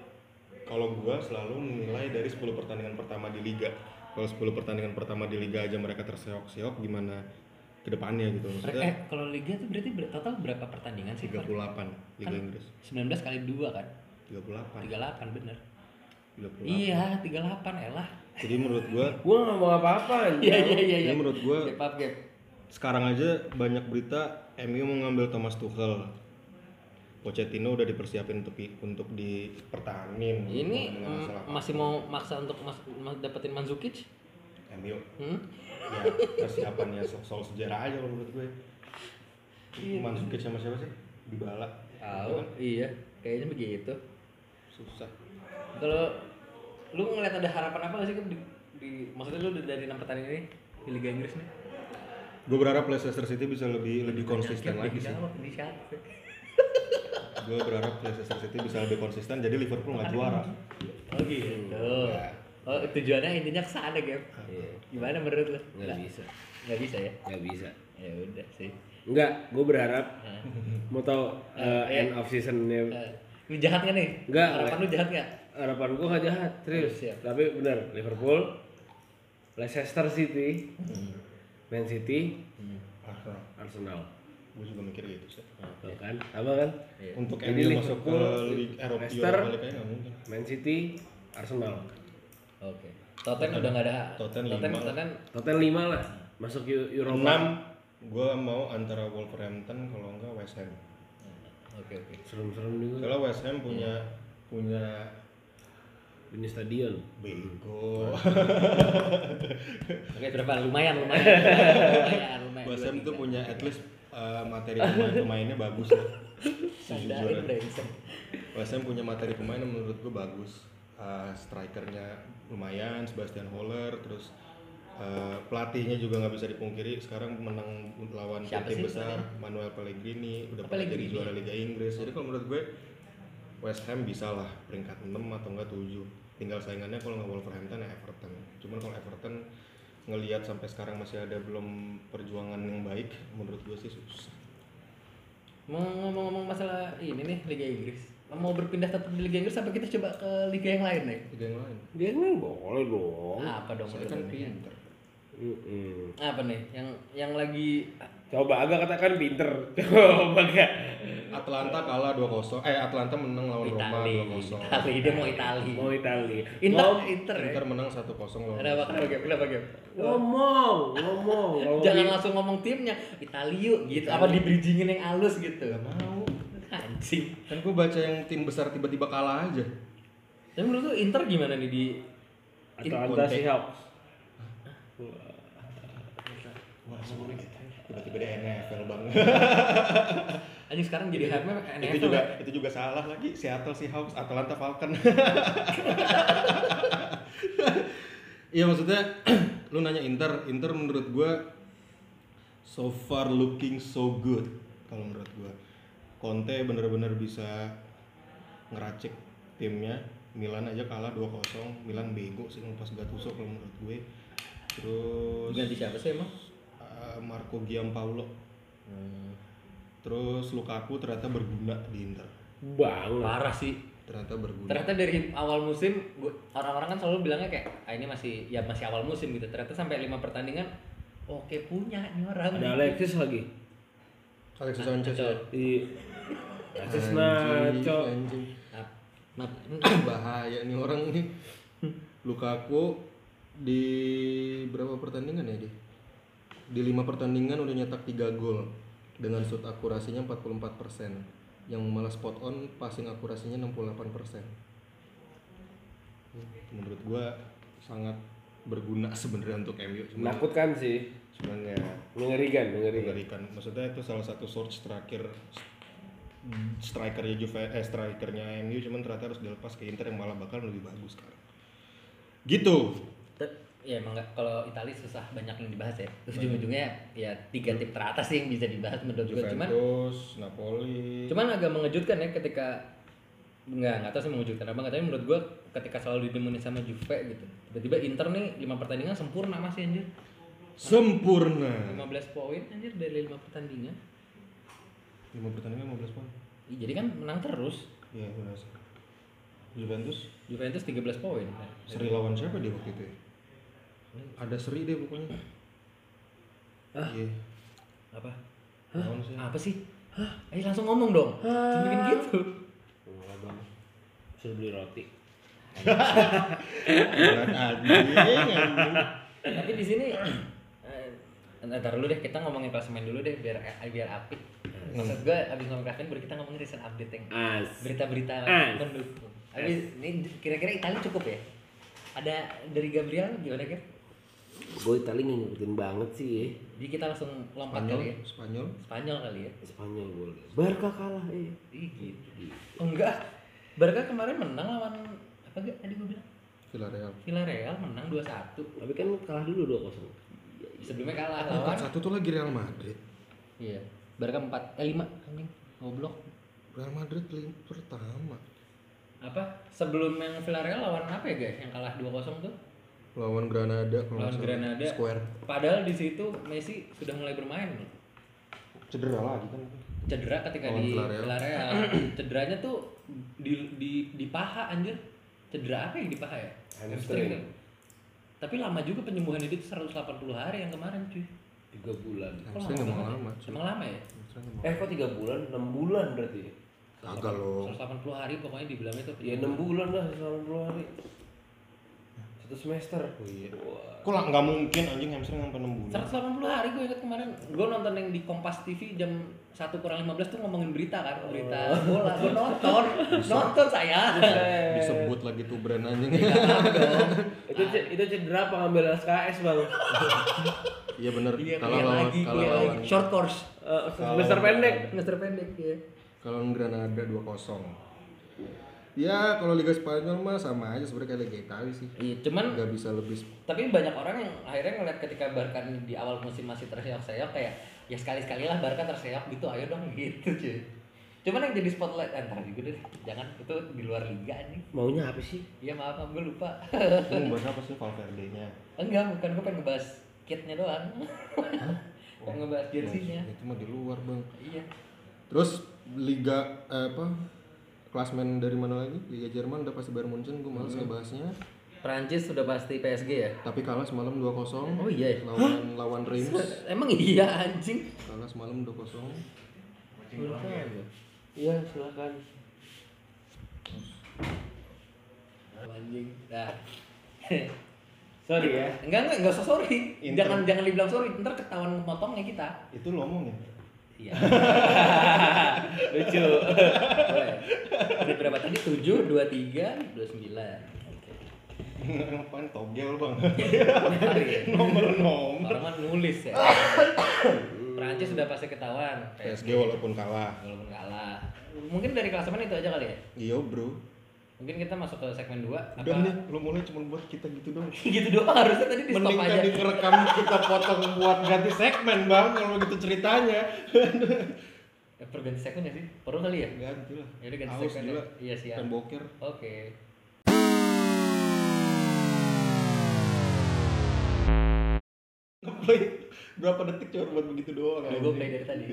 Speaker 2: kalau gua selalu menilai dari 10 pertandingan pertama di liga. Kalau 10 pertandingan pertama di liga aja mereka terseok-seok gimana ke depannya gitu.
Speaker 1: Mereka- Eh,
Speaker 2: Maksudnya
Speaker 1: kalau liga tuh berarti ber- total berapa pertandingan sih?
Speaker 2: 38 Liga
Speaker 1: Kan-
Speaker 2: Inggris.
Speaker 1: 19 kali 2 kan?
Speaker 2: 38.
Speaker 1: 38 bener.
Speaker 2: 38.
Speaker 1: Iya, 38 elah.
Speaker 2: Jadi menurut gua
Speaker 4: Gua nggak ngomong apa-apa.
Speaker 1: Iya, iya, iya, iya.
Speaker 2: Jadi menurut gua
Speaker 1: Gap up, gap.
Speaker 2: sekarang aja banyak berita MU mau ngambil Thomas Tuchel. Pochettino udah dipersiapin untuk di- untuk dipertahanin.
Speaker 1: Ini
Speaker 2: Dengan
Speaker 1: mm,
Speaker 2: masalah
Speaker 1: masih mau maksa untuk mas, mas- dapetin Manzukic?
Speaker 2: MU
Speaker 1: Hmm?
Speaker 2: ya persiapannya so- soal sejarah aja kalau menurut gue.
Speaker 1: Iya.
Speaker 2: Mansukic sama siapa sih? Dybala.
Speaker 1: Tahu, iya. Kayaknya begitu.
Speaker 2: Susah.
Speaker 1: Kalau lu ngeliat ada harapan apa gak sih Kep, di, di maksudnya lu udah dari 6 pertandingan ini di Liga Inggris nih?
Speaker 2: Gue berharap Leicester City bisa lebih lebih konsisten lagi sih.
Speaker 1: Dijawab, dijawab.
Speaker 2: Gue berharap Leicester City bisa lebih konsisten jadi Liverpool nggak juara.
Speaker 1: Oh gitu. Oh, tujuannya intinya ke sana, Gap. Gimana menurut lu?
Speaker 4: Nggak bisa.
Speaker 1: Nggak bisa ya?
Speaker 4: Nggak bisa.
Speaker 1: Ya udah sih.
Speaker 4: Enggak, gue berharap
Speaker 2: Hmm.
Speaker 4: mau tau uh,
Speaker 1: Eh.
Speaker 4: end of seasonnya
Speaker 1: Eh, Lu jahat gak nih?
Speaker 4: Nggak,
Speaker 1: Harapan lu jahat gak?
Speaker 4: harapan gue gak jahat serius
Speaker 1: Siap.
Speaker 4: tapi benar Liverpool Leicester City
Speaker 1: Hmm.
Speaker 4: Man City
Speaker 2: Arsenal.
Speaker 4: Arsenal
Speaker 2: Gue Ah, juga mikir gitu sih.
Speaker 4: Tuh kan sama kan
Speaker 2: Untuk
Speaker 4: Jadi
Speaker 2: MU masuk ke
Speaker 4: Liverpool,
Speaker 2: Liga Eropa
Speaker 4: Leicester.
Speaker 2: Europa League kayaknya nggak mungkin.
Speaker 4: Man City Arsenal
Speaker 1: Oke. Tottenham udah nggak ada.
Speaker 2: Tottenham
Speaker 1: Tottenham,
Speaker 2: lima.
Speaker 1: Tottenham
Speaker 4: total 5 lah masuk Eu- Europa
Speaker 2: 6 gue mau antara Wolverhampton kalau enggak West Ham
Speaker 1: Oke oke.
Speaker 4: serem-serem nih gua.
Speaker 2: soalnya West Ham punya punya
Speaker 4: ini stadion
Speaker 2: bego
Speaker 1: Oke berapa? Lumayan lumayan. lumayan lumayan.
Speaker 2: West Ham tuh punya at least uh, materi pemain pemainnya bagus lah
Speaker 1: Sandarin
Speaker 2: sejujurnya
Speaker 1: brengsek.
Speaker 2: West Ham punya materi pemain yang menurut gue bagus Uh, strikernya lumayan Sebastian Haller terus uh, pelatihnya juga nggak bisa dipungkiri sekarang menang lawan
Speaker 1: Siapa
Speaker 2: tim
Speaker 1: sih
Speaker 2: besar Manuel Pellegrini udah
Speaker 1: Oh,
Speaker 2: pernah jadi
Speaker 1: Pellegrini.
Speaker 2: juara Liga Inggris jadi kalau menurut gue West Ham bisa lah peringkat 6 atau enggak 7 tinggal saingannya kalau nggak Wolverhampton ya Everton cuman kalau Everton ngelihat sampai sekarang masih ada belum perjuangan yang baik menurut gue sih susah
Speaker 1: Mau ngomong-ngomong masalah ini nih Liga Inggris. Mau berpindah tetap di Liga Inggris apa kita coba ke liga yang lain nih?
Speaker 2: liga yang lain
Speaker 4: dia kan boleh dong
Speaker 1: Apa dong?
Speaker 2: saya kan
Speaker 1: menurut lu nih?
Speaker 2: pinter
Speaker 4: Mm-mm.
Speaker 1: apa nih yang yang lagi
Speaker 4: Coba agak katakan pinter. Coba enggak.
Speaker 2: Atlanta kalah 2-0. Eh Atlanta menang lawan
Speaker 1: Itali
Speaker 2: Roma 2-0.
Speaker 1: Itali dia mau Itali
Speaker 4: Mau Italia.
Speaker 1: Inter
Speaker 4: Ngom-
Speaker 1: Inter ya
Speaker 2: Inter menang 1-0 lawan.
Speaker 1: kenapa kenapa Gap? kenapa Gap?
Speaker 4: Ngomong, ngomong. ngomong.
Speaker 1: jangan langsung ngomong timnya Italia gitu apa di bridgingin yang halus gitu
Speaker 2: Gak mau.
Speaker 1: anjing
Speaker 2: Kan gue baca yang tim besar tiba-tiba kalah aja.
Speaker 1: tapi menurut lu Inter gimana nih di
Speaker 4: Atau anta si Hawks.
Speaker 2: Tiba-tiba dia NFL bang.
Speaker 1: anjing sekarang jadi hype nya
Speaker 2: itu juga itu juga salah lagi. Seattle Seahawks, Atlanta Falcon. Iya maksudnya lu nanya Inter, Inter menurut gue so far looking so good kalau menurut gue. Conte bener-bener bisa ngeracik timnya. Milan aja kalah 2-0. Milan bego sih pas Gattuso kalau menurut gue. Terus
Speaker 1: ganti siapa sih emang
Speaker 2: eh, Marco Giampaolo.
Speaker 1: Hmm.
Speaker 2: Terus Lukaku ternyata berguna di Inter.
Speaker 4: Banget.
Speaker 1: ya. parah sih
Speaker 2: Ternyata berguna.
Speaker 1: ternyata dari awal musim gua- orang-orang kan selalu bilangnya kayak ah, ini masih ya masih awal musim gitu ternyata sampai lima pertandingan oke punya nih orang
Speaker 4: Ada Alexis lagi.
Speaker 2: Alexis Sanchez. ya.
Speaker 4: Di Alexis Nacho.
Speaker 2: Anjing.
Speaker 1: Nah, nah,
Speaker 2: Bahaya nih orang nih. Lukaku di berapa pertandingan ya dia? Di lima pertandingan udah nyetak 3 gol dengan shoot akurasinya 44%. Yang malah spot on passing akurasinya 68%. Menurut gua sangat berguna sebenarnya untuk MU cuman
Speaker 4: Menakutkan sih.
Speaker 2: cuman ya
Speaker 4: Mengerikan, mengerikan.
Speaker 2: mengerikan. Maksudnya itu salah satu source terakhir hmm, strikernya Juve eh strikernya MU cuman ternyata harus dilepas ke Inter yang malah bakal lebih bagus sekarang. Gitu.
Speaker 1: tet- ya emang nggak- kalau Italia susah banyak yang dibahas ya terus ujung-ujungnya ya tiga tim teratas sih yang bisa dibahas menurut gue cuman
Speaker 2: Juventus, Napoli.
Speaker 1: cuman agak mengejutkan ya ketika nggak nggak tahu sih mengejutkan apa nggak tapi menurut gue ketika selalu didemenin sama Juve gitu tiba-tiba Inter nih lima pertandingan sempurna masih anjir
Speaker 2: sempurna.
Speaker 1: 15 poin anjir dari lima pertandingan
Speaker 2: 5 pertandingan 15 poin.
Speaker 1: Ih, jadi kan menang terus
Speaker 2: Iya, benar. Juventus
Speaker 1: Juventus 13 poin
Speaker 2: seri lawan siapa dia waktu itu? ya? Ada seri deh pokoknya.
Speaker 1: Ah.
Speaker 2: Iya.
Speaker 1: apa
Speaker 2: Lawan sih.
Speaker 1: apa sih Hah? Ayo langsung ngomong dong. Jangan bikin gitu.
Speaker 4: Enggak bang. Suruh beli roti.
Speaker 2: Berat anjing, Iya, anjing.
Speaker 1: Tapi di sini eh, ntar dulu deh kita ngomongin klasemen dulu deh biar eh, biar apik. Maksud gue abis ngomongin klasemen baru kita ngomongin recent update yang
Speaker 4: As.
Speaker 1: berita-berita
Speaker 4: Ah.
Speaker 1: pendukung. Abis ini kira-kira Italia cukup ya? Ada dari Gabriel gimana kan?
Speaker 4: Gue Itali nggak ngikutin banget sih ya.
Speaker 1: Jadi kita langsung lompat
Speaker 2: Spanyol,
Speaker 1: kali ya.
Speaker 2: Spanyol.
Speaker 1: Spanyol kali ya.
Speaker 4: Spanyol boleh. Barca kalah eh.
Speaker 1: Ih gitu. Oh, enggak. Barca kemarin menang lawan apa enggak tadi gue bilang?
Speaker 2: Villarreal.
Speaker 1: Villarreal menang 2-1.
Speaker 4: Tapi kan kalah dulu 2-0.
Speaker 1: Sebelumnya kalah lawan
Speaker 2: Angkat satu tuh lagi Real Madrid.
Speaker 1: Iya. Barca 4 eh 5 anjing. Goblok.
Speaker 2: Real Madrid link pertama
Speaker 1: Apa? Sebelum yang Villarreal lawan apa ya guys? Yang kalah 2-0 tuh?
Speaker 2: lawan Granada
Speaker 1: Lawan
Speaker 2: kalau nggak salah.
Speaker 1: Granada.
Speaker 2: Square
Speaker 1: Padahal di situ Messi sudah mulai bermain loh.
Speaker 2: cedera lagi kan
Speaker 1: Cedera ketika
Speaker 2: Lawan
Speaker 1: di
Speaker 2: Villarreal.
Speaker 1: Villarreal. Cederanya tuh di di di paha anjir. Cedera apa yang di paha ya?
Speaker 4: Hamstring.
Speaker 1: kan? Tapi lama juga penyembuhannya dia tuh 180 hari yang kemarin cuy.
Speaker 4: 3 bulan.
Speaker 1: lama
Speaker 2: Hamstring emang
Speaker 1: banget ya?
Speaker 2: lama cuy.
Speaker 1: Emang lama ya?
Speaker 2: Hamstring emang-
Speaker 4: Eh kok 3 bulan? 6 bulan berarti ya?
Speaker 2: kagak loh
Speaker 1: 180 hari pokoknya dibilang itu
Speaker 4: Ya 6 bulan lah selama 20 hari. Satu semester. Oh iya. Wah.
Speaker 2: kok lah nggak mungkin anjing hamstring sampai 6
Speaker 1: 180
Speaker 2: bulan
Speaker 1: hari gue ingat kemarin gue nonton yang di Kompas TV jam 1 kurang 15 tuh ngomongin berita kan berita
Speaker 2: Oh.
Speaker 1: bola gue nonton nonton saya
Speaker 2: disebut lagi tuh brand anjing
Speaker 1: Iya.
Speaker 4: Itu ce- itu cedera apa ngambil SKS, Bang? Eh,
Speaker 2: iya bener
Speaker 1: Iya,
Speaker 2: kalau
Speaker 1: kuliah
Speaker 2: lawan
Speaker 1: lagi,
Speaker 2: kalau
Speaker 1: kuliah
Speaker 2: lawan
Speaker 1: lagi. short course
Speaker 4: Eh, semester pendek.
Speaker 1: semester pendek ya
Speaker 2: kalau lawan Granada 2-0 ya kalau Liga Spanyol mah sama aja sebenarnya kayak Liga Italia sih
Speaker 1: iya cuman
Speaker 2: nggak bisa lebih sp-
Speaker 1: tapi banyak orang yang akhirnya ngeliat ketika Barca di awal musim masih terseok-seok kayak ya sekali-sekali lah Barca terseok gitu ayo dong gitu cuy cuman yang jadi spotlight entar juga deh jangan itu di luar liga nih
Speaker 4: Maunya apa sih?
Speaker 1: iya maaf maaf, gue lupa
Speaker 2: lu mau bahas apa sih Valverde nya
Speaker 1: enggak bukan gue pengen ngebahas kitnya doang pengen ngebahas jersey-nya
Speaker 2: itu mah di luar bang
Speaker 1: Iya.
Speaker 2: terus Liga
Speaker 1: Hmm.
Speaker 2: eh, apa klasmen dari mana lagi Liga Jerman udah pasti Bayern Munchen gue males ngebahasnya
Speaker 1: Prancis sudah pasti PSG ya?
Speaker 2: Tapi kalah semalam 2-0.
Speaker 1: Oh iya. ya?
Speaker 2: Lawan lawan Reims
Speaker 1: Emang iya anjing.
Speaker 2: kalah semalam 2-0.
Speaker 1: Iya, silakan. Anjing. Dah.
Speaker 3: Sorry ya.
Speaker 1: Enggak enggak enggak usah sorry.
Speaker 2: Intro.
Speaker 1: Jangan jangan dibilang sorry, ntar ketahuan motongnya kita.
Speaker 2: Itu lo omong ya?
Speaker 1: Iya. Lucu. Boleh. Udah berapa tadi? 7, 23, 29. Oke.
Speaker 2: Ngapain togel bang?
Speaker 1: Bentar ya.
Speaker 2: Nomor nomor.
Speaker 1: Orang mah nulis ya. Prancis sudah pasti ketahuan.
Speaker 2: PSG walaupun kalah.
Speaker 1: Walaupun kalah. Mungkin dari klasemen itu aja kali ya.
Speaker 2: Iya bro.
Speaker 1: Mungkin kita masuk ke segmen 2 apa?
Speaker 2: Udah nih, lo mulai cuma buat kita gitu dong.
Speaker 1: gitu doang harusnya tadi di stop
Speaker 2: Mending
Speaker 1: aja.
Speaker 2: tadi ngerekam kita potong buat ganti segmen bang kalau gitu ceritanya.
Speaker 1: Eh, perlu ganti segmen ya sih? Perlu kali ya?
Speaker 2: Ganti lah.
Speaker 1: Ya udah ganti
Speaker 2: Aus
Speaker 1: segmen.
Speaker 2: gila.
Speaker 1: ya. Iya siap.
Speaker 2: Kan boker.
Speaker 1: Oke.
Speaker 2: Play berapa detik cuma buat begitu doang.
Speaker 1: Gue
Speaker 2: anjing.
Speaker 1: play dari tadi.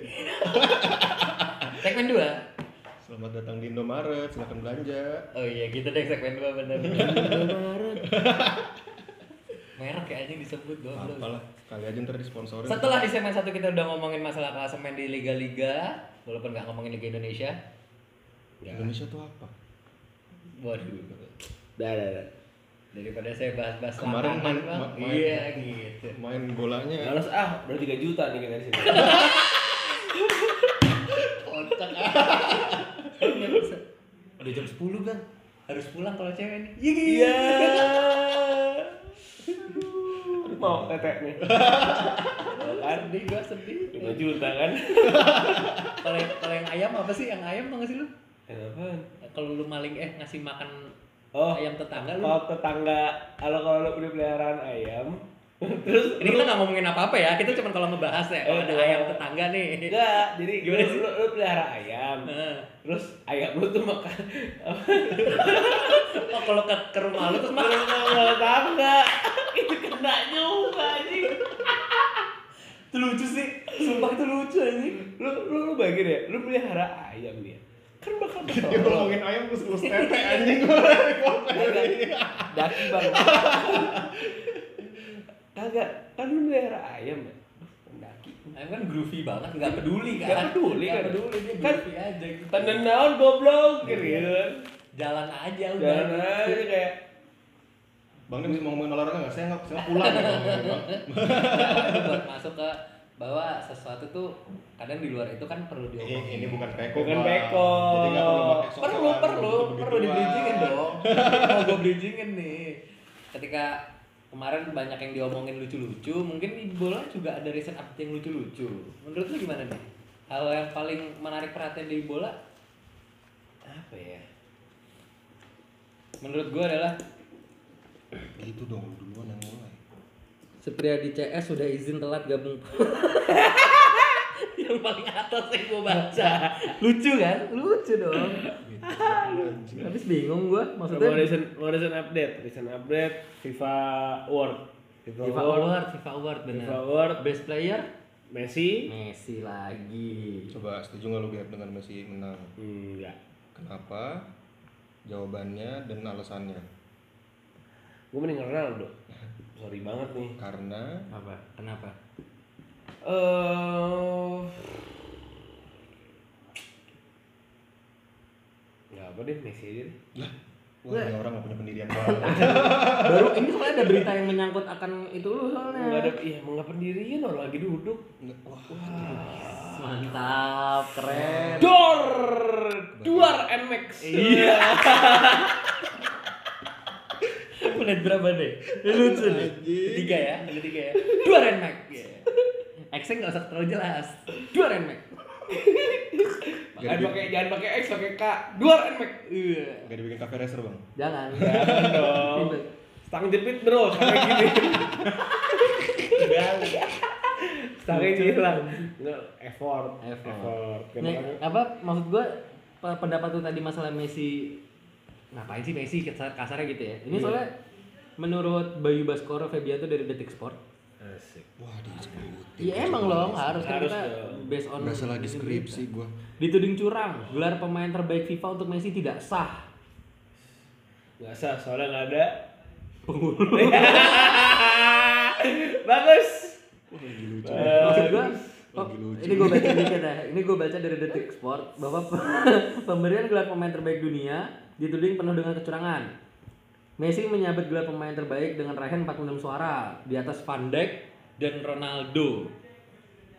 Speaker 1: segmen 2.
Speaker 2: Selamat datang di Indomaret, silahkan belanja.
Speaker 1: Oh iya, gitu deh segmen 2 bener. Merek ya anjing disebut goblok.
Speaker 2: Apalah, kali aja ntar disponsorin.
Speaker 1: Setelah di segmen satu kita udah ngomongin masalah klasemen di liga-liga, walaupun nggak ngomongin Liga Indonesia. Ya.
Speaker 2: Indonesia tuh apa?
Speaker 1: Waduh.
Speaker 4: Dah, dah, dah.
Speaker 1: Daripada saya bahas-bahas
Speaker 2: Kemarin
Speaker 1: lapangan,
Speaker 2: main-
Speaker 1: Bang.
Speaker 2: ma- main.
Speaker 1: Iya, gitu.
Speaker 2: Main bolanya
Speaker 4: Males ah, udah 3 juta nih kita di sini.
Speaker 1: Kocak. Udah jam 10, Bang. Harus pulang kalau cewek nih. Iya.
Speaker 4: Mau tetek nih.
Speaker 1: Sedih gua sedih.
Speaker 4: 5 kan? juta kan.
Speaker 1: Kalau yang- kalau yang ayam apa sih? Yang ayam tau nggak sih lu?
Speaker 4: Kenapa?
Speaker 1: Kalau lu maling eh ngasih makan
Speaker 4: Oh,
Speaker 1: ayam tetangga lu.
Speaker 4: kalau tetangga, kalau kalau lu punya peliharaan ayam, terus
Speaker 1: Ini kita nggak ngomongin apa-apa ya. Kita cuma kalau ngebahas ya. Kalau ada
Speaker 4: Aduh.
Speaker 1: ayam tetangga nih.
Speaker 4: enggak, jadi
Speaker 1: Gimana
Speaker 4: gimana
Speaker 1: sih?
Speaker 4: Lu, lu pelihara ayam.
Speaker 1: Heeh.
Speaker 4: Terus ayam lu tuh makan
Speaker 1: Oh, kalau ke, ke rumah lu terus makan.
Speaker 4: Terus sama tetangga. Itu kena juga anjing.
Speaker 1: Itu lucu sih. Sumpah itu lucu anjing.
Speaker 4: Lu lu lu bayangin ya, lu pelihara ayam nih. ya. Kan bakal
Speaker 2: Dia
Speaker 4: ketolong.
Speaker 2: ngomongin
Speaker 4: Iya
Speaker 2: ayam terus terus tete
Speaker 1: Iya.
Speaker 2: anjing
Speaker 4: kan? Daki bang. Kagak, kan lu pelihara ayam ya. Daki.
Speaker 1: Ayam kan groovy banget, nggak peduli kan?
Speaker 4: Nggak peduli
Speaker 1: Nggak
Speaker 4: kan?
Speaker 1: peduli dia
Speaker 4: Kan-
Speaker 1: groovy aja gitu. Iya.
Speaker 4: Tanda naon goblok gitu. kan.
Speaker 1: Jalan aja udah.
Speaker 4: Jangan aja kayak
Speaker 2: Bang ini mau ngomongin olahraga nggak? Saya nggak, saya pulang. ya, Bang.
Speaker 1: Itu buat masuk ke bahwa sesuatu tuh kadang di luar itu kan perlu
Speaker 2: Ini,
Speaker 1: diomongin.
Speaker 2: ini bukan peko.
Speaker 4: Bukan
Speaker 2: Bang.
Speaker 4: peko.
Speaker 2: Jadi nggak perlu pakai sok
Speaker 1: perlu perlu perlu dibridgingin dong. Mau gue bridgingin nih. Ketika kemarin banyak yang diomongin lucu-lucu, mungkin di bola juga ada recent update yang lucu-lucu. Menurut lu gimana nih? Hal yang paling menarik perhatian di bola apa ya? Menurut gua adalah
Speaker 2: Itu Gitu dong duluan yang mulai.
Speaker 1: Supriyadi CS sudah izin telat gabung. yang paling atas yang gue baca. Lucu kan? Lucu dong. Habis bingung gue
Speaker 4: Mau
Speaker 1: maksudnya.
Speaker 4: recent, mau recent update, recent update FIFA World, FIFA,
Speaker 1: FIFA
Speaker 4: World,
Speaker 1: Award, FIFA Award benar.
Speaker 4: FIFA Award,
Speaker 1: Best player
Speaker 4: Messi,
Speaker 1: Messi lagi.
Speaker 2: Coba setuju nggak lu Gap, dengan Messi menang?
Speaker 4: enggak.
Speaker 2: Kenapa? Jawabannya dan alasannya.
Speaker 4: Gue mending Ronaldo. Sorry banget nih.
Speaker 2: Karena
Speaker 1: Apa? Kenapa?
Speaker 4: Eh, nggak apa deh Messi aja deh.
Speaker 2: wah ini orang nggak punya pendirian banget.
Speaker 3: Baru ini soalnya ada berita yang menyangkut akan itu lu soalnya.
Speaker 4: Nggak ada, iya emang nggak pendirian orang lagi duduk.
Speaker 1: Mantap, keren.
Speaker 4: Dor, duar MX. Iya.
Speaker 1: Menit berapa deh? Lucu nih. Tiga ya, tiga ya. Dua renmek. Action nggak usah terlalu jelas. Dua renmek.
Speaker 4: Jangan pakai jangan pakai X, pakai K. Duar MX. Iya.
Speaker 2: Gak dibikin cafe racer bang.
Speaker 1: Jangan.
Speaker 4: Jangan dong. Stang jepit bro, sampai gini. Stangnya hilang. No, effort,
Speaker 1: Effort. Nih,
Speaker 4: Kenapa?
Speaker 1: apa maksud gua pe- pendapat tuh tadi masalah Messi ngapain sih Messi kasar- kasarnya gitu ya.
Speaker 4: Iya.
Speaker 1: Ini soalnya menurut Bayu Baskoro Febianto dari Detik Sport.
Speaker 4: Asik.
Speaker 2: Wah disebutin.
Speaker 1: Iya emang loh harus kan
Speaker 4: Harus
Speaker 1: kita
Speaker 4: dong.
Speaker 1: based on
Speaker 2: Berasa lagi skripsi gua.
Speaker 1: Dituding curang, gelar pemain terbaik FIFA untuk Messi tidak sah.
Speaker 4: Nggak sah, soalnya nggak ada Pengurus.
Speaker 1: Bagus.
Speaker 3: Maksud gua,
Speaker 1: oh,
Speaker 2: Lagi lucu.
Speaker 3: ini gue baca dikit ya. Ini gue baca dari Detik Sport bahwa pe- pemberian gelar pemain terbaik dunia dituding penuh dengan kecurangan. Messi menyabet gelar pemain terbaik dengan raihan 46 suara
Speaker 1: Di atas Van Dijk dan Ronaldo.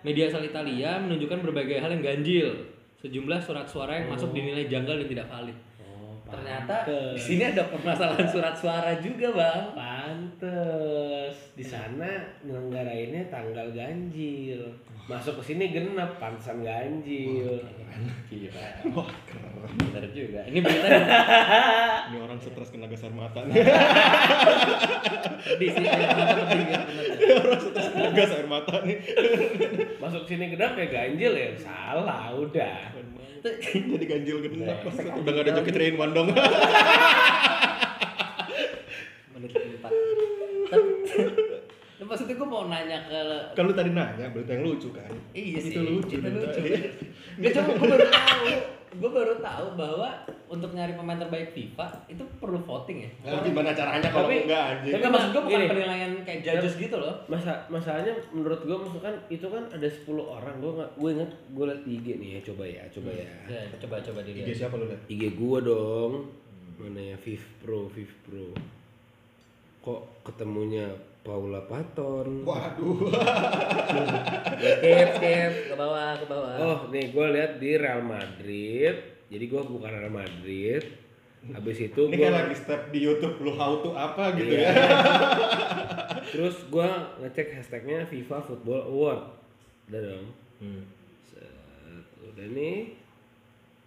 Speaker 1: Media asal Italia menunjukkan berbagai hal yang ganjil. Sejumlah surat suara yang masuk dinilai janggal dan tidak valid. Ternyata di sini ada permasalahan surat suara juga, Bang.
Speaker 4: Pantes di sana nyelenggarainnya tanggal ganjil. Masuk ke sini genap pantesan ganjil.
Speaker 1: Gila.
Speaker 2: Wah, keren.
Speaker 1: Bener juga. Ini berita
Speaker 2: Ini orang stres kena gas air mata nih.
Speaker 1: di sini kenapa penting ya, bener ya.
Speaker 2: orang stres kena gas air mata nih.
Speaker 4: Masuk sini genap ya ganjil ya salah udah.
Speaker 2: Jadi ganjil genap. Udah gak ada joki train one dong.
Speaker 1: menit keempat. Tapi maksudnya gue mau nanya ke
Speaker 2: Kan lu tadi nanya berita yang lucu kan?
Speaker 1: iya sih,
Speaker 2: Itu lucu.
Speaker 1: itu
Speaker 2: berita.
Speaker 1: lucu. Gak cuma gue baru tahu, gue baru tahu bahwa untuk nyari pemain terbaik FIFA itu perlu voting ya.
Speaker 2: Nah, gimana caranya kalau
Speaker 4: Tapi-
Speaker 2: enggak anjing?
Speaker 1: Tapi maksud gue bukan
Speaker 4: Gini.
Speaker 1: penilaian kayak judges gitu loh.
Speaker 4: Masa masalahnya menurut gua maksud kan itu kan ada 10 orang gua nggak gue inget gue liat di IG nih ya coba ya coba ya.
Speaker 1: Ya, coba coba
Speaker 2: IG
Speaker 1: dilihat.
Speaker 2: siapa lu lihat?
Speaker 4: IG gua dong. Mana ya Viv Pro, Viv Pro. Kok ketemunya Paula Patton?
Speaker 2: Waduh.
Speaker 1: Skip skip ke bawah ke bawah.
Speaker 4: Oh, nih gua lihat di Real Madrid. Jadi gua bukan Real Madrid. Habis itu
Speaker 2: Ini kayak lagi
Speaker 4: gua
Speaker 2: step di YouTube lu how to apa gitu
Speaker 4: Iya.
Speaker 2: ya.
Speaker 4: terus gua ngecek hashtagnya FIFA Football Award. Udah dong.
Speaker 2: ya.
Speaker 4: Hmm. Set, Udah nih.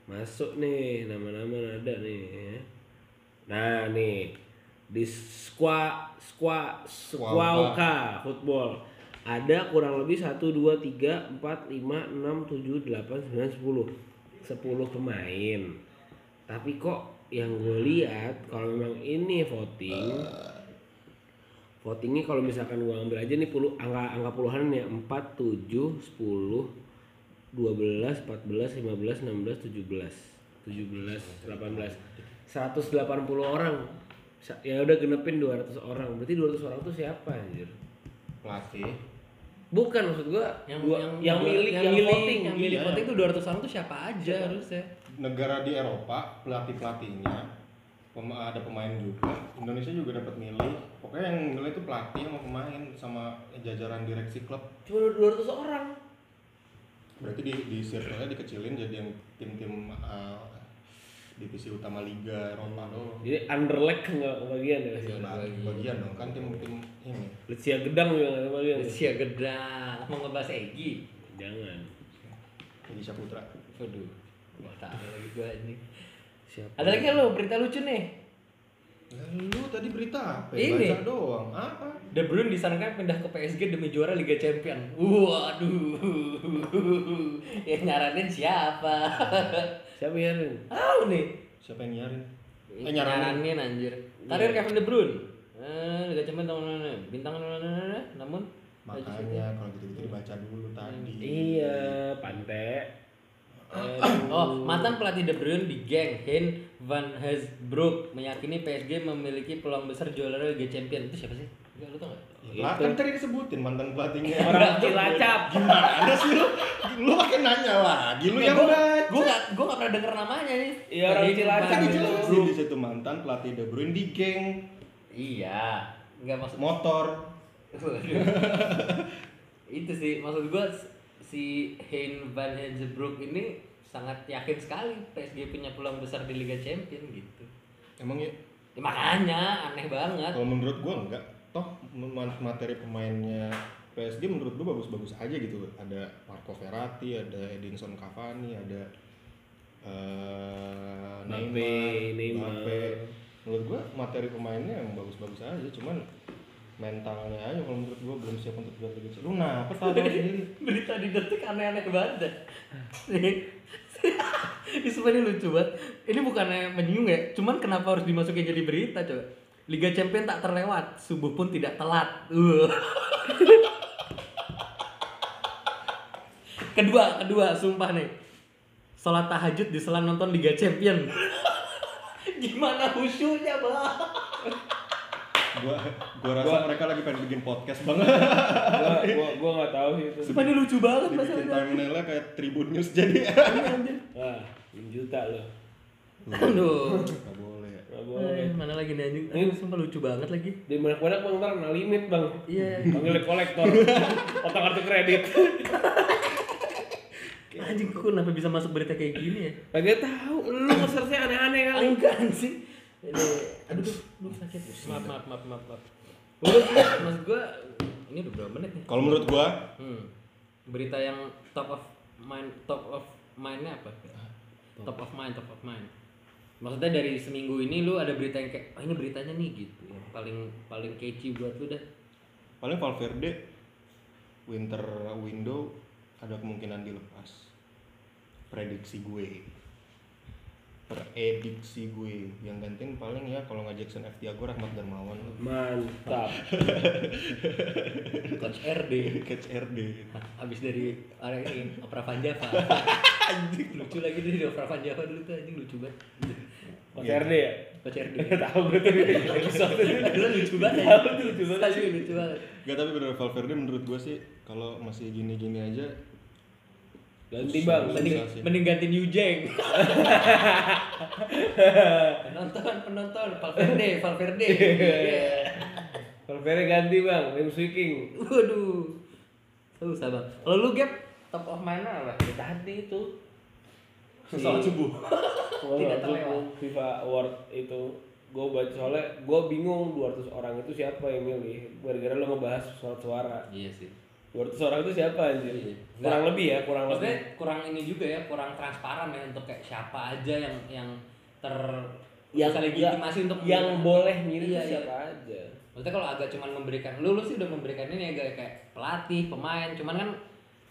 Speaker 4: Masuk nih nama-nama ada nih. ya. Nah, nih di Squa Squa Squawka Football ada kurang lebih 1 2 3 4 5 6 7 8 9 10. 10 pemain. Tapi kok yang gue lihat kalau memang ini voting votingnya kalau misalkan gua ambil aja nih puluh angka angka puluhan ya 4 7 10 12 14 15 16 17 17 18 180 orang Sa- ya udah genepin 200 orang berarti 200 orang tuh siapa anjir
Speaker 2: Pelatih.
Speaker 4: bukan maksud gua
Speaker 1: yang,
Speaker 4: dua-
Speaker 1: yang,
Speaker 4: yang milik yang, voting
Speaker 1: yang milik
Speaker 2: Iya.
Speaker 1: voting itu 200 orang tuh siapa aja harusnya
Speaker 2: Negara di Eropa pelatih pelatihnya ada pemain juga Indonesia juga dapat milih pokoknya yang milih itu pelatih sama pemain sama jajaran direksi klub
Speaker 4: cuma 200 orang
Speaker 2: berarti di di circle-nya dikecilin jadi yang tim-tim uh, divisi utama liga Eropa doang
Speaker 4: jadi underleg nggak kebagian ya
Speaker 1: Iya.
Speaker 2: Nah, bagian dong kan tim-tim ini
Speaker 4: Lucia Gedang juga nggak kebagian
Speaker 2: Iya.
Speaker 4: ya?
Speaker 1: Sia gedang mau ngebahas Egi
Speaker 4: jangan
Speaker 2: Indonesia Putra
Speaker 1: waduh nggak tahu lagi gua ini
Speaker 4: siapa
Speaker 1: ada lagi nggak lo berita lucu nih
Speaker 2: lalu tadi berita apa
Speaker 1: Ini.
Speaker 2: baca doang apa
Speaker 1: De Bruyne disarankan pindah ke PSG demi juara Liga Champion. Waduh. Yang Ya, nyaranin siapa?
Speaker 4: siapa ya Rin?
Speaker 1: Tahu nih.
Speaker 2: siapa yang nyarin eh, nyaranin Iya.
Speaker 1: Nyaranin anjir. Karir Kevin De Bruyne. Eh, Liga Champion tahun lalu. Bintang namun
Speaker 2: makanya kalau gitu-gitu dibaca dulu tadi
Speaker 4: iya Pante Eh,
Speaker 1: Oh, mantan pelatih De Bruyne di geng Hein van Hesbroek meyakini PSG memiliki peluang besar juara Liga Champion. Itu siapa sih? Enggak lu tau gak?
Speaker 2: lah kan tadi disebutin mantan pelatihnya
Speaker 4: orang cilacap
Speaker 2: gimana sih lu lu pakai nanya lagi lu yang
Speaker 1: gue
Speaker 2: udah
Speaker 1: gue gak gue gak pernah denger namanya nih.
Speaker 4: Iya, orang
Speaker 1: Hein
Speaker 4: Cilacap
Speaker 1: van
Speaker 2: kan dijelasin
Speaker 1: Hesbroek.
Speaker 2: di situ mantan pelatih De Bruyne di geng
Speaker 1: Iya, nggak maksud
Speaker 2: motor
Speaker 1: itu sih maksud gue si Hein van Hesbroek ini sangat yakin sekali PSG punya peluang besar di Liga Champion gitu.
Speaker 2: emang ya
Speaker 1: Ya, makanya aneh banget.
Speaker 2: kalau menurut gua enggak toh mem- materi pemainnya PSG menurut gua bagus-bagus aja gitu ada Marco Verratti ada Edinson Cavani ada eh,
Speaker 4: Mbappe, Neymar.
Speaker 2: Mbappe. menurut gua materi pemainnya yang bagus-bagus aja cuman mentalnya aja kalau menurut gua belum siap untuk juara Liga Champions. Lu nah, apa tahu sendiri?
Speaker 1: berita di detik aneh-aneh banget dah. Nih. ini sebenarnya lucu banget ini bukannya menyinggung ya cuman kenapa harus dimasukin jadi berita coba Liga Champion tak terlewat subuh pun tidak telat Uh. kedua kedua sumpah nih sholat tahajud di sela nonton Liga Champion gimana khusyuknya bang
Speaker 2: gua gua rasa
Speaker 4: Gua-
Speaker 2: mereka lagi pengen bikin podcast banget
Speaker 4: gua gua gua nggak tahu sih itu
Speaker 3: Sumpah ini lucu banget
Speaker 2: dibikin
Speaker 3: masalahnya.
Speaker 2: thumbnailnya kayak Tribun News jadi
Speaker 4: wah 6 juta loh
Speaker 3: Aduh.
Speaker 2: nggak boleh
Speaker 4: nggak
Speaker 3: Eh,
Speaker 4: boleh
Speaker 3: mana lagi nih anjing? Aduh, sumpah lucu banget lagi.
Speaker 4: di banyak banyak bang ntar kena limit bang
Speaker 3: Iya.
Speaker 4: panggil kolektor otak kartu kredit
Speaker 3: Anjing kok kenapa bisa masuk berita kayak gini ya?
Speaker 4: kagak Nah, tahu lu ngesernya aneh-aneh kali
Speaker 3: Enggak sih. Ini aduh duh, lu sakit.
Speaker 4: maaf maaf maaf maaf, maaf.
Speaker 3: Menurut gua, maksud gua ini udah berapa menit nih?
Speaker 2: kalau menurut gua
Speaker 3: Hmm. Berita yang top of mind top of mind-nya apa? Top of mind, top of mind. Maksudnya dari seminggu ini lu ada berita yang kayak, oh ini beritanya nih gitu. Yang paling paling catchy buat lu dah.
Speaker 2: paling Valverde winter window ada kemungkinan dilepas prediksi gue prediksi gue yang gantiin paling ya kalau nggak Jackson F Tiago Rahmat Darmawan
Speaker 4: mantap
Speaker 1: Coach RD
Speaker 2: catch RD
Speaker 1: abis dari ada ini Opera Van Java anjing lucu lagi dia di Opera Van Java dulu tuh anjing lucu banget
Speaker 4: Mas RD ya
Speaker 1: Coach RD
Speaker 4: Nggak tahu gue tuh episode itu
Speaker 1: Padahal lucu banget ya.
Speaker 4: Tahu tuh, Iya, lucu banget.
Speaker 1: Asli lucu banget
Speaker 2: Gak tapi bener Valverde menurut gue sih kalau masih gini-gini aja
Speaker 4: ganti bang ganti
Speaker 1: Mending,
Speaker 2: Sensasi.
Speaker 1: mending gantiin Yu Jeng penonton penonton Valverde Valverde
Speaker 4: Valverde Iya. ganti bang Lim Swiking
Speaker 1: waduh susah bang kalau lu gap top of mind apa
Speaker 4: Ya, tadi itu
Speaker 1: soal subuh
Speaker 4: Gua
Speaker 1: Tidak
Speaker 4: nggak tahu
Speaker 1: terlewat.
Speaker 4: FIFA Award itu gue baca soalnya gue bingung 200 orang itu siapa yang milih gara-gara lo ngebahas surat suara
Speaker 1: iya sih
Speaker 4: 200 orang itu siapa
Speaker 1: Iya.
Speaker 4: anjir kurang lebih ya kurang
Speaker 1: Maksudnya
Speaker 4: lebih
Speaker 1: kurang ini juga ya, kurang transparan ya untuk kayak siapa aja yang yang ter
Speaker 4: yang
Speaker 1: bisa legitimasi untuk
Speaker 4: yang
Speaker 1: memberikan-
Speaker 4: boleh milih
Speaker 1: iya,
Speaker 4: itu
Speaker 1: iya.
Speaker 4: siapa aja
Speaker 1: Maksudnya kalau agak cuman memberikan lu, lu sih udah memberikan ini agak kayak pelatih, pemain, cuman kan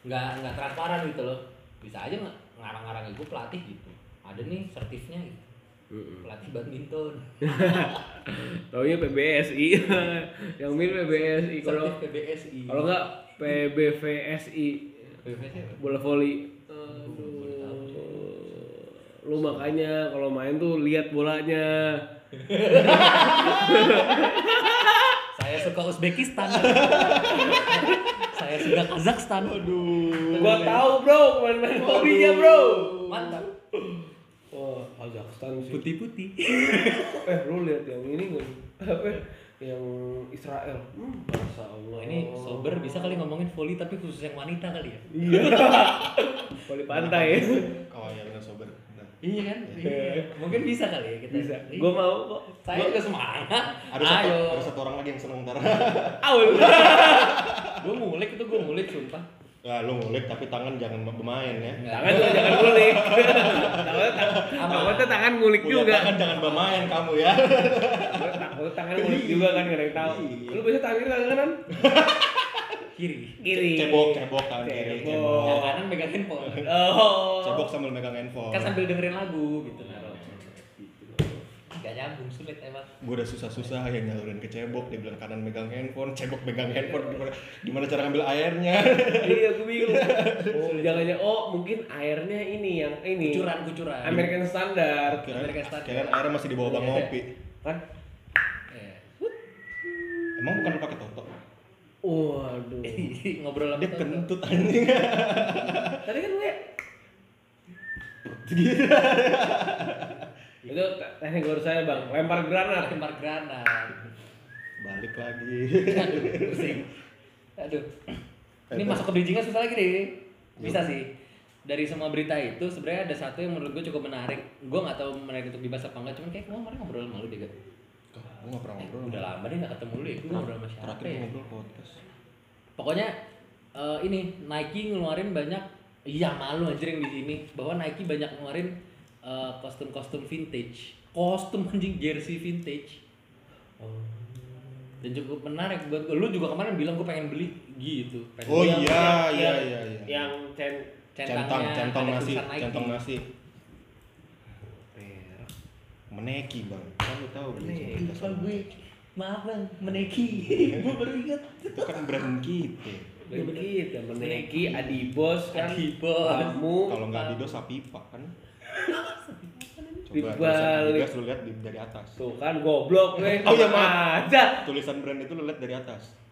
Speaker 1: nggak nggak transparan gitu loh. Bisa aja nge- ngarang-ngarang itu pelatih gitu. Ada nih sertifnya gitu. Pelatih badminton,
Speaker 4: taunya PBSI yang milih PBSI
Speaker 1: sertif PBSI.
Speaker 4: nggak PBVSI
Speaker 1: PBSI apa?
Speaker 4: bola voli aduh lu makanya kalau main tuh lihat bolanya
Speaker 1: Saya suka Uzbekistan. Saya suka Kazakhstan.
Speaker 2: Aduh
Speaker 4: Gua tahu bro, main-main hobinya bro.
Speaker 1: Mantap.
Speaker 4: Wah, Kazakhstan sih.
Speaker 1: Putih-putih.
Speaker 4: Eh, lu lihat yang ini nggak? Apa? Yang Israel. Hmm, Masya Allah.
Speaker 1: Wah, ini sober bisa kali ngomongin volley tapi khusus yang wanita kali ya?
Speaker 4: Iya. Voli pantai.
Speaker 2: Oh iya bener sober Nah,
Speaker 1: Iya kan? Mungkin bisa kali ya kita.
Speaker 4: Bisa.
Speaker 1: Iya.
Speaker 4: Gua mau kok.
Speaker 1: Saya juga semangat.
Speaker 2: ada, satu,
Speaker 1: Ayo.
Speaker 2: ada satu orang lagi yang seneng ntar
Speaker 4: Awal.
Speaker 1: Gua ngulik itu gua ngulik sumpah.
Speaker 2: Nah lu ngulik tapi tangan jangan bermain ya
Speaker 4: Tangan juga jangan ngulik. Takutnya tang- Takutnya tangan ngulik
Speaker 2: Punya
Speaker 4: juga.
Speaker 2: tangan jangan bermain kamu ya
Speaker 4: Takutnya tangan ngulik juga kan nggak ada yang tahu. Lu bisa tangan kiri tangan kanan?
Speaker 1: Kiri.
Speaker 4: Kiri.
Speaker 2: Cebok, cebok tangan kiri
Speaker 4: Cebok.
Speaker 2: Cebok
Speaker 1: Yang kanan megang handphone.
Speaker 4: Oh.
Speaker 2: Cebok sambil megang handphone
Speaker 1: Kan sambil dengerin lagu gitu naro. Gak nyambung sulit emang.
Speaker 2: Gue udah susah-susah yang nyalurin ke cebok Dia bilang kanan megang handphone, cebok megang handphone Gimana, gimana cara ngambil airnya
Speaker 4: Iya, gue bingung. Oh, jangan ya. Oh, mungkin airnya ini yang ini.
Speaker 1: Kucuran kucuran.
Speaker 4: American Standard
Speaker 2: Kirain
Speaker 1: Amerika Selatan.
Speaker 2: kirain airnya masih di bawah bang ngopi
Speaker 4: kan?
Speaker 1: Iya.
Speaker 2: Emang bukan pakai toto?
Speaker 4: Waduh.
Speaker 1: Ngobrol sama
Speaker 2: Dia
Speaker 1: Toto.
Speaker 2: kentut anjing
Speaker 4: Tadi kan gue itu te- teknik guru saya bang lempar granat
Speaker 1: Lempar granat.
Speaker 2: Balik lagi
Speaker 1: Pusing. Aduh.
Speaker 2: Eh,
Speaker 1: Ini masuk ke bridgingnya susah lagi deh. Bisa sih. Dari semua berita itu sebenarnya ada satu yang menurut gue cukup menarik. Gue nggak tahu menarik untuk dibahas apa enggak, cuman kayak gue kemarin ngobrol sama lu deh, Gak?
Speaker 2: Gue gak pernah ngobrol
Speaker 1: Udah lama deh nggak ketemu lu ya, gue ngobrol sama siapa
Speaker 2: Hmm. Terakhir
Speaker 1: ya?
Speaker 2: gua ngobrol podcast
Speaker 1: Pokoknya eh, ini Nike ngeluarin banyak iya malu anjir yang di sini bahwa Nike banyak ngeluarin eh, kostum-kostum vintage. Kostum anjing jersey vintage.
Speaker 2: Oh.
Speaker 1: Dan cukup menarik buat gue. Lu juga kemarin bilang gue pengen beli gitu. Pengen
Speaker 2: Oh
Speaker 1: beli.
Speaker 2: iya, iya,
Speaker 4: yang-
Speaker 2: iya, iya
Speaker 4: yang cen
Speaker 2: Centang,
Speaker 1: Centangnya
Speaker 2: centang
Speaker 1: ada
Speaker 2: nasi,
Speaker 1: tulisan Nike.
Speaker 2: centang nasi
Speaker 4: Iya,
Speaker 2: Meneki bang, kan lu tau
Speaker 1: Nih,
Speaker 2: beli
Speaker 1: lupa gue. Maaf bang, meneki. gue baru ingat.
Speaker 2: Itu kan brand kita
Speaker 4: begitu meneki adibos kan
Speaker 1: Adibos.
Speaker 4: kamu
Speaker 2: Kalau nggak Adidas, Sapipa kan tulisan
Speaker 4: dibalik
Speaker 2: Adidas lu lihat di- dari atas.
Speaker 4: tuh kan goblok gue
Speaker 2: Oh, iya,
Speaker 4: aja
Speaker 2: Tulisan brand itu lu lihat dari atas.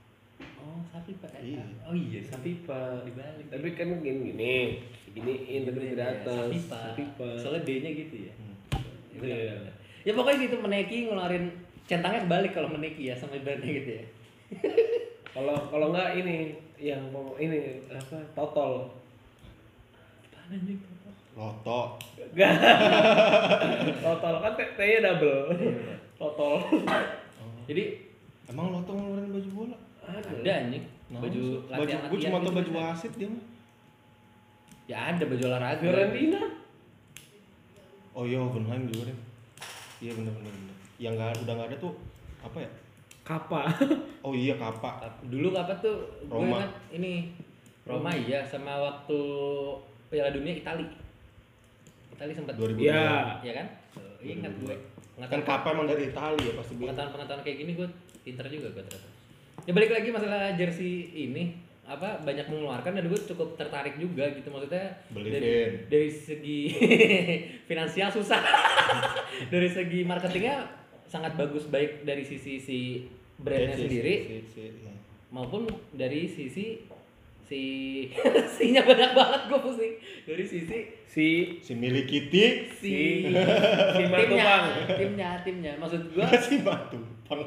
Speaker 1: Oh, sapi pak.
Speaker 2: Iya.
Speaker 1: Oh iya, sapi pak.
Speaker 4: tapi kan gini gini gini tapi di atas
Speaker 1: Iya, Sapi pak.
Speaker 4: pipa
Speaker 1: Soalnya D-nya gitu ya. Gitu kan?
Speaker 4: Iya.
Speaker 1: Ya pokoknya gitu meneki ngeluarin centangnya kebalik kalau meneki ya sama ibaratnya gitu ya.
Speaker 4: kalau kalau nggak ini yang mau- ini apa totol
Speaker 1: Apaan anjing?
Speaker 2: Loto.
Speaker 4: Gak. totol kan T nya double. Totol.
Speaker 1: Jadi
Speaker 2: Oh. Emang Loto ngeluarin baju bola?
Speaker 1: ada anjing baju
Speaker 2: Nah, baju gue cuma tau baju wasit dia
Speaker 1: gitu
Speaker 2: mah.
Speaker 1: kan. Ya ada baju olahraga.
Speaker 4: Fiorentina.
Speaker 2: Oh iya, Hoffenheim juga deh. Iya benar benar benar. Yang nggak udah nggak ada tuh apa ya?
Speaker 4: Kapa.
Speaker 2: Oh iya Kapa.
Speaker 1: Dulu apa tuh? Gue
Speaker 2: Roma.
Speaker 1: ingat ini Roma iya sama waktu Piala Dunia Itali. Itali sempat.
Speaker 2: 2002.
Speaker 4: Ya.
Speaker 1: Iya kan? Eh, Ingat gue.
Speaker 2: Kan
Speaker 1: Pengetahuan-
Speaker 2: Kapa emang dari Italia ya pasti. bilang.
Speaker 1: Pengetahuan-pengetahuan kayak gini gue pinter juga gue ternyata. Ya balik lagi masalah jersey ini apa banyak mengeluarkan dan gue cukup tertarik juga gitu maksudnya
Speaker 2: Beli
Speaker 1: dari
Speaker 2: Vin.
Speaker 1: dari segi finansial susah dari segi marketingnya sangat bagus baik dari sisi si brandnya
Speaker 2: Si- si-
Speaker 1: sendiri
Speaker 2: si- si- si-
Speaker 1: maupun dari sisi si sinya banyak banget gue pusing dari sisi
Speaker 4: Si
Speaker 2: Si Milikiti,
Speaker 1: si
Speaker 4: si Matupang.
Speaker 1: timnya timnya maksud gue
Speaker 2: si Batu. Pang.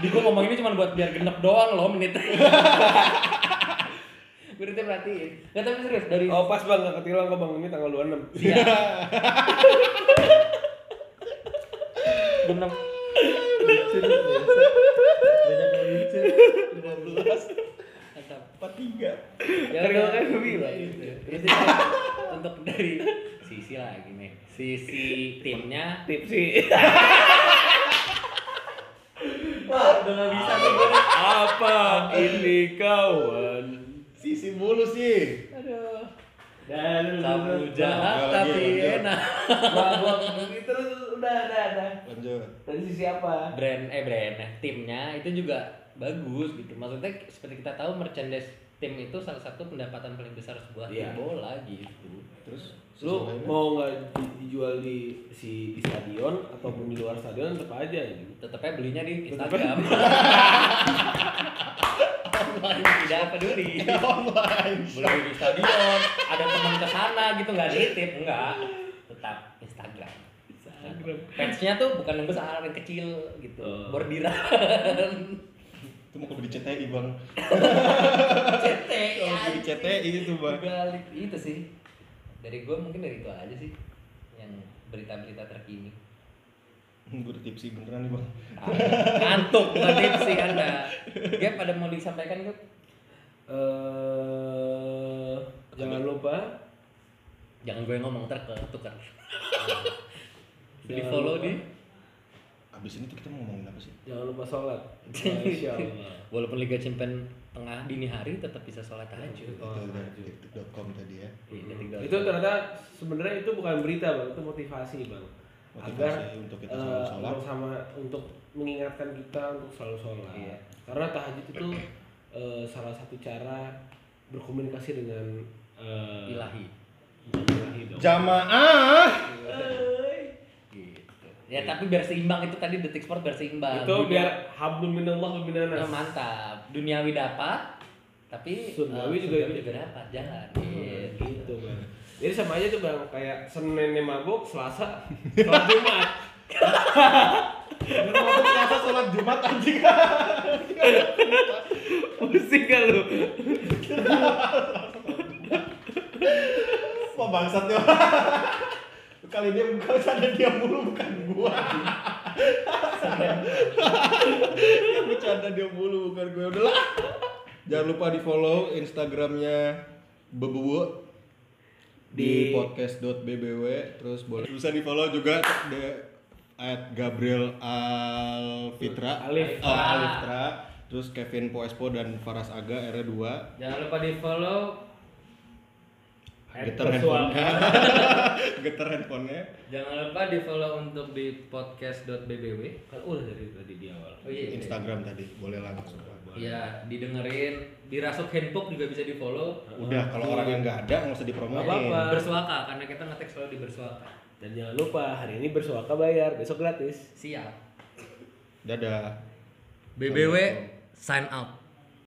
Speaker 1: di gue ngomong ini cuma buat biar genep doang loh menit gue nanti perhatiin nggak tapi serius dari
Speaker 4: Oh pas bang nggak ketilang kok bang ini tanggal 26
Speaker 1: Iya. genep banyak yang lucu 15 mantap
Speaker 2: 43.
Speaker 1: ya udah
Speaker 4: Kan gua kan gua bilang.
Speaker 1: Iya, iya. Terus ini untuk dari sisi lagi nih sisi timnya
Speaker 4: tipsi.
Speaker 1: wah udah nggak bisa nih gue
Speaker 4: Apa ini kawan?
Speaker 2: Sisi mulu sih.
Speaker 1: aduh
Speaker 4: Dan
Speaker 1: tamu jahat
Speaker 2: Lanjut,
Speaker 1: tapi
Speaker 2: lanjut.
Speaker 1: enak
Speaker 4: terus udah udah udah.
Speaker 2: Lanjut.
Speaker 4: Tadi sisi apa?
Speaker 1: brand eh brand eh, timnya itu juga bagus gitu maksudnya seperti kita tahu merchandise tim itu salah satu pendapatan paling besar sebuah
Speaker 4: Iya.
Speaker 1: tim bola gitu
Speaker 2: Terus
Speaker 4: Lu
Speaker 2: kan?
Speaker 4: mau nggak di- dijual di si di stadion ataupun di luar stadion tetap aja ya.
Speaker 1: tetapnya belinya di Instagram Online, tidak peduli
Speaker 2: online.
Speaker 1: beli di stadion ada teman ke sana gitu nggak nitip enggak tetap Instagram fansnya tuh bukan yang besar yang kecil gitu
Speaker 4: Oh.
Speaker 1: bordiran
Speaker 2: Itu mau beli CTI, Bang.
Speaker 1: CT
Speaker 2: Kalau beli CTI itu, Bang.
Speaker 1: balik itu sih dari gue mungkin dari itu aja sih yang berita-berita terkini
Speaker 2: Gue udah tipsi beneran nih, Bang.
Speaker 1: ngantuk bukan tips sih anda Gap pada mau disampaikan Gap
Speaker 4: Eh jangan lupa
Speaker 1: jangan gue ngomong ntar Eh, ketukar beli
Speaker 4: Jangan
Speaker 1: follow
Speaker 4: lupa.
Speaker 1: di
Speaker 2: Abis ini tuh kita mau ngomongin apa sih?
Speaker 4: Jangan lupa sholat. Masya Allah.
Speaker 1: walaupun Liga Champion tengah dini hari tetap bisa sholat tahajud
Speaker 4: Oh,
Speaker 2: itu dari
Speaker 4: lanjut.
Speaker 2: detik.com tadi ya.
Speaker 4: Hmm.
Speaker 1: Iya, detik dot.
Speaker 4: Itu ternyata sebenarnya itu bukan berita bang, itu motivasi bang.
Speaker 2: Motivasi
Speaker 4: Agar
Speaker 2: untuk kita
Speaker 4: eh,
Speaker 2: selalu sholat.
Speaker 4: untuk sama untuk mengingatkan kita untuk selalu sholat.
Speaker 1: Iya.
Speaker 4: Karena tahajud itu eh, salah satu cara berkomunikasi dengan eh,
Speaker 1: ilahi
Speaker 4: bukan ilahi dong.
Speaker 2: Jamaah.
Speaker 1: gitu ya tapi biar seimbang itu tadi detik sport biar seimbang
Speaker 4: Iya. itu
Speaker 1: Dunia-
Speaker 4: biar hablum minallah wa
Speaker 1: Nah,
Speaker 4: minanas.
Speaker 1: mantap duniawi dapat tapi
Speaker 4: Surgawi
Speaker 1: eh,
Speaker 4: juga
Speaker 1: surgawi
Speaker 4: dapat.
Speaker 1: dapat jangan
Speaker 4: Nah,
Speaker 1: Gitu.
Speaker 4: gitu bang. Jadi sama aja tuh bang kayak Seninnya mabuk, Selasa, sholat Jumat.
Speaker 2: Lu mau puasa sholat Jumat anjing.
Speaker 4: Pusing gak lu?
Speaker 2: Wah bangsat ya. Kali dia bukan sana dia mulu bukan gua. Yang bercanda dia mulu bukan gua. Udah lah. Jangan lupa di follow Instagramnya Bebuwo di,
Speaker 4: Di-
Speaker 2: podcast.bbw terus boleh bisa di follow juga di at Gabriel Alfitra
Speaker 4: Alif.
Speaker 2: Oh, Aliftra terus Kevin Poespo dan Faras Aga R2
Speaker 3: Jangan lupa di follow,
Speaker 2: geter
Speaker 4: Persuara.
Speaker 2: handphonenya geter handphonenya
Speaker 3: jangan lupa di follow untuk di podcast.bbw.
Speaker 4: Kan udah dari tadi di awal.
Speaker 1: oh iya, iya.
Speaker 2: Instagram tadi boleh langsung
Speaker 3: Iya,
Speaker 1: ya didengerin dirasuk handpok juga bisa di follow
Speaker 2: Udah kalau orang yang nggak ada nggak usah dipromoin.
Speaker 4: Nggak apa-apa.
Speaker 1: bersuaka karena kita ngetek selalu di bersuaka
Speaker 4: Dan jangan lupa hari ini bersuaka bayar, besok gratis.
Speaker 1: siap
Speaker 2: Dadah.
Speaker 5: BBW sign out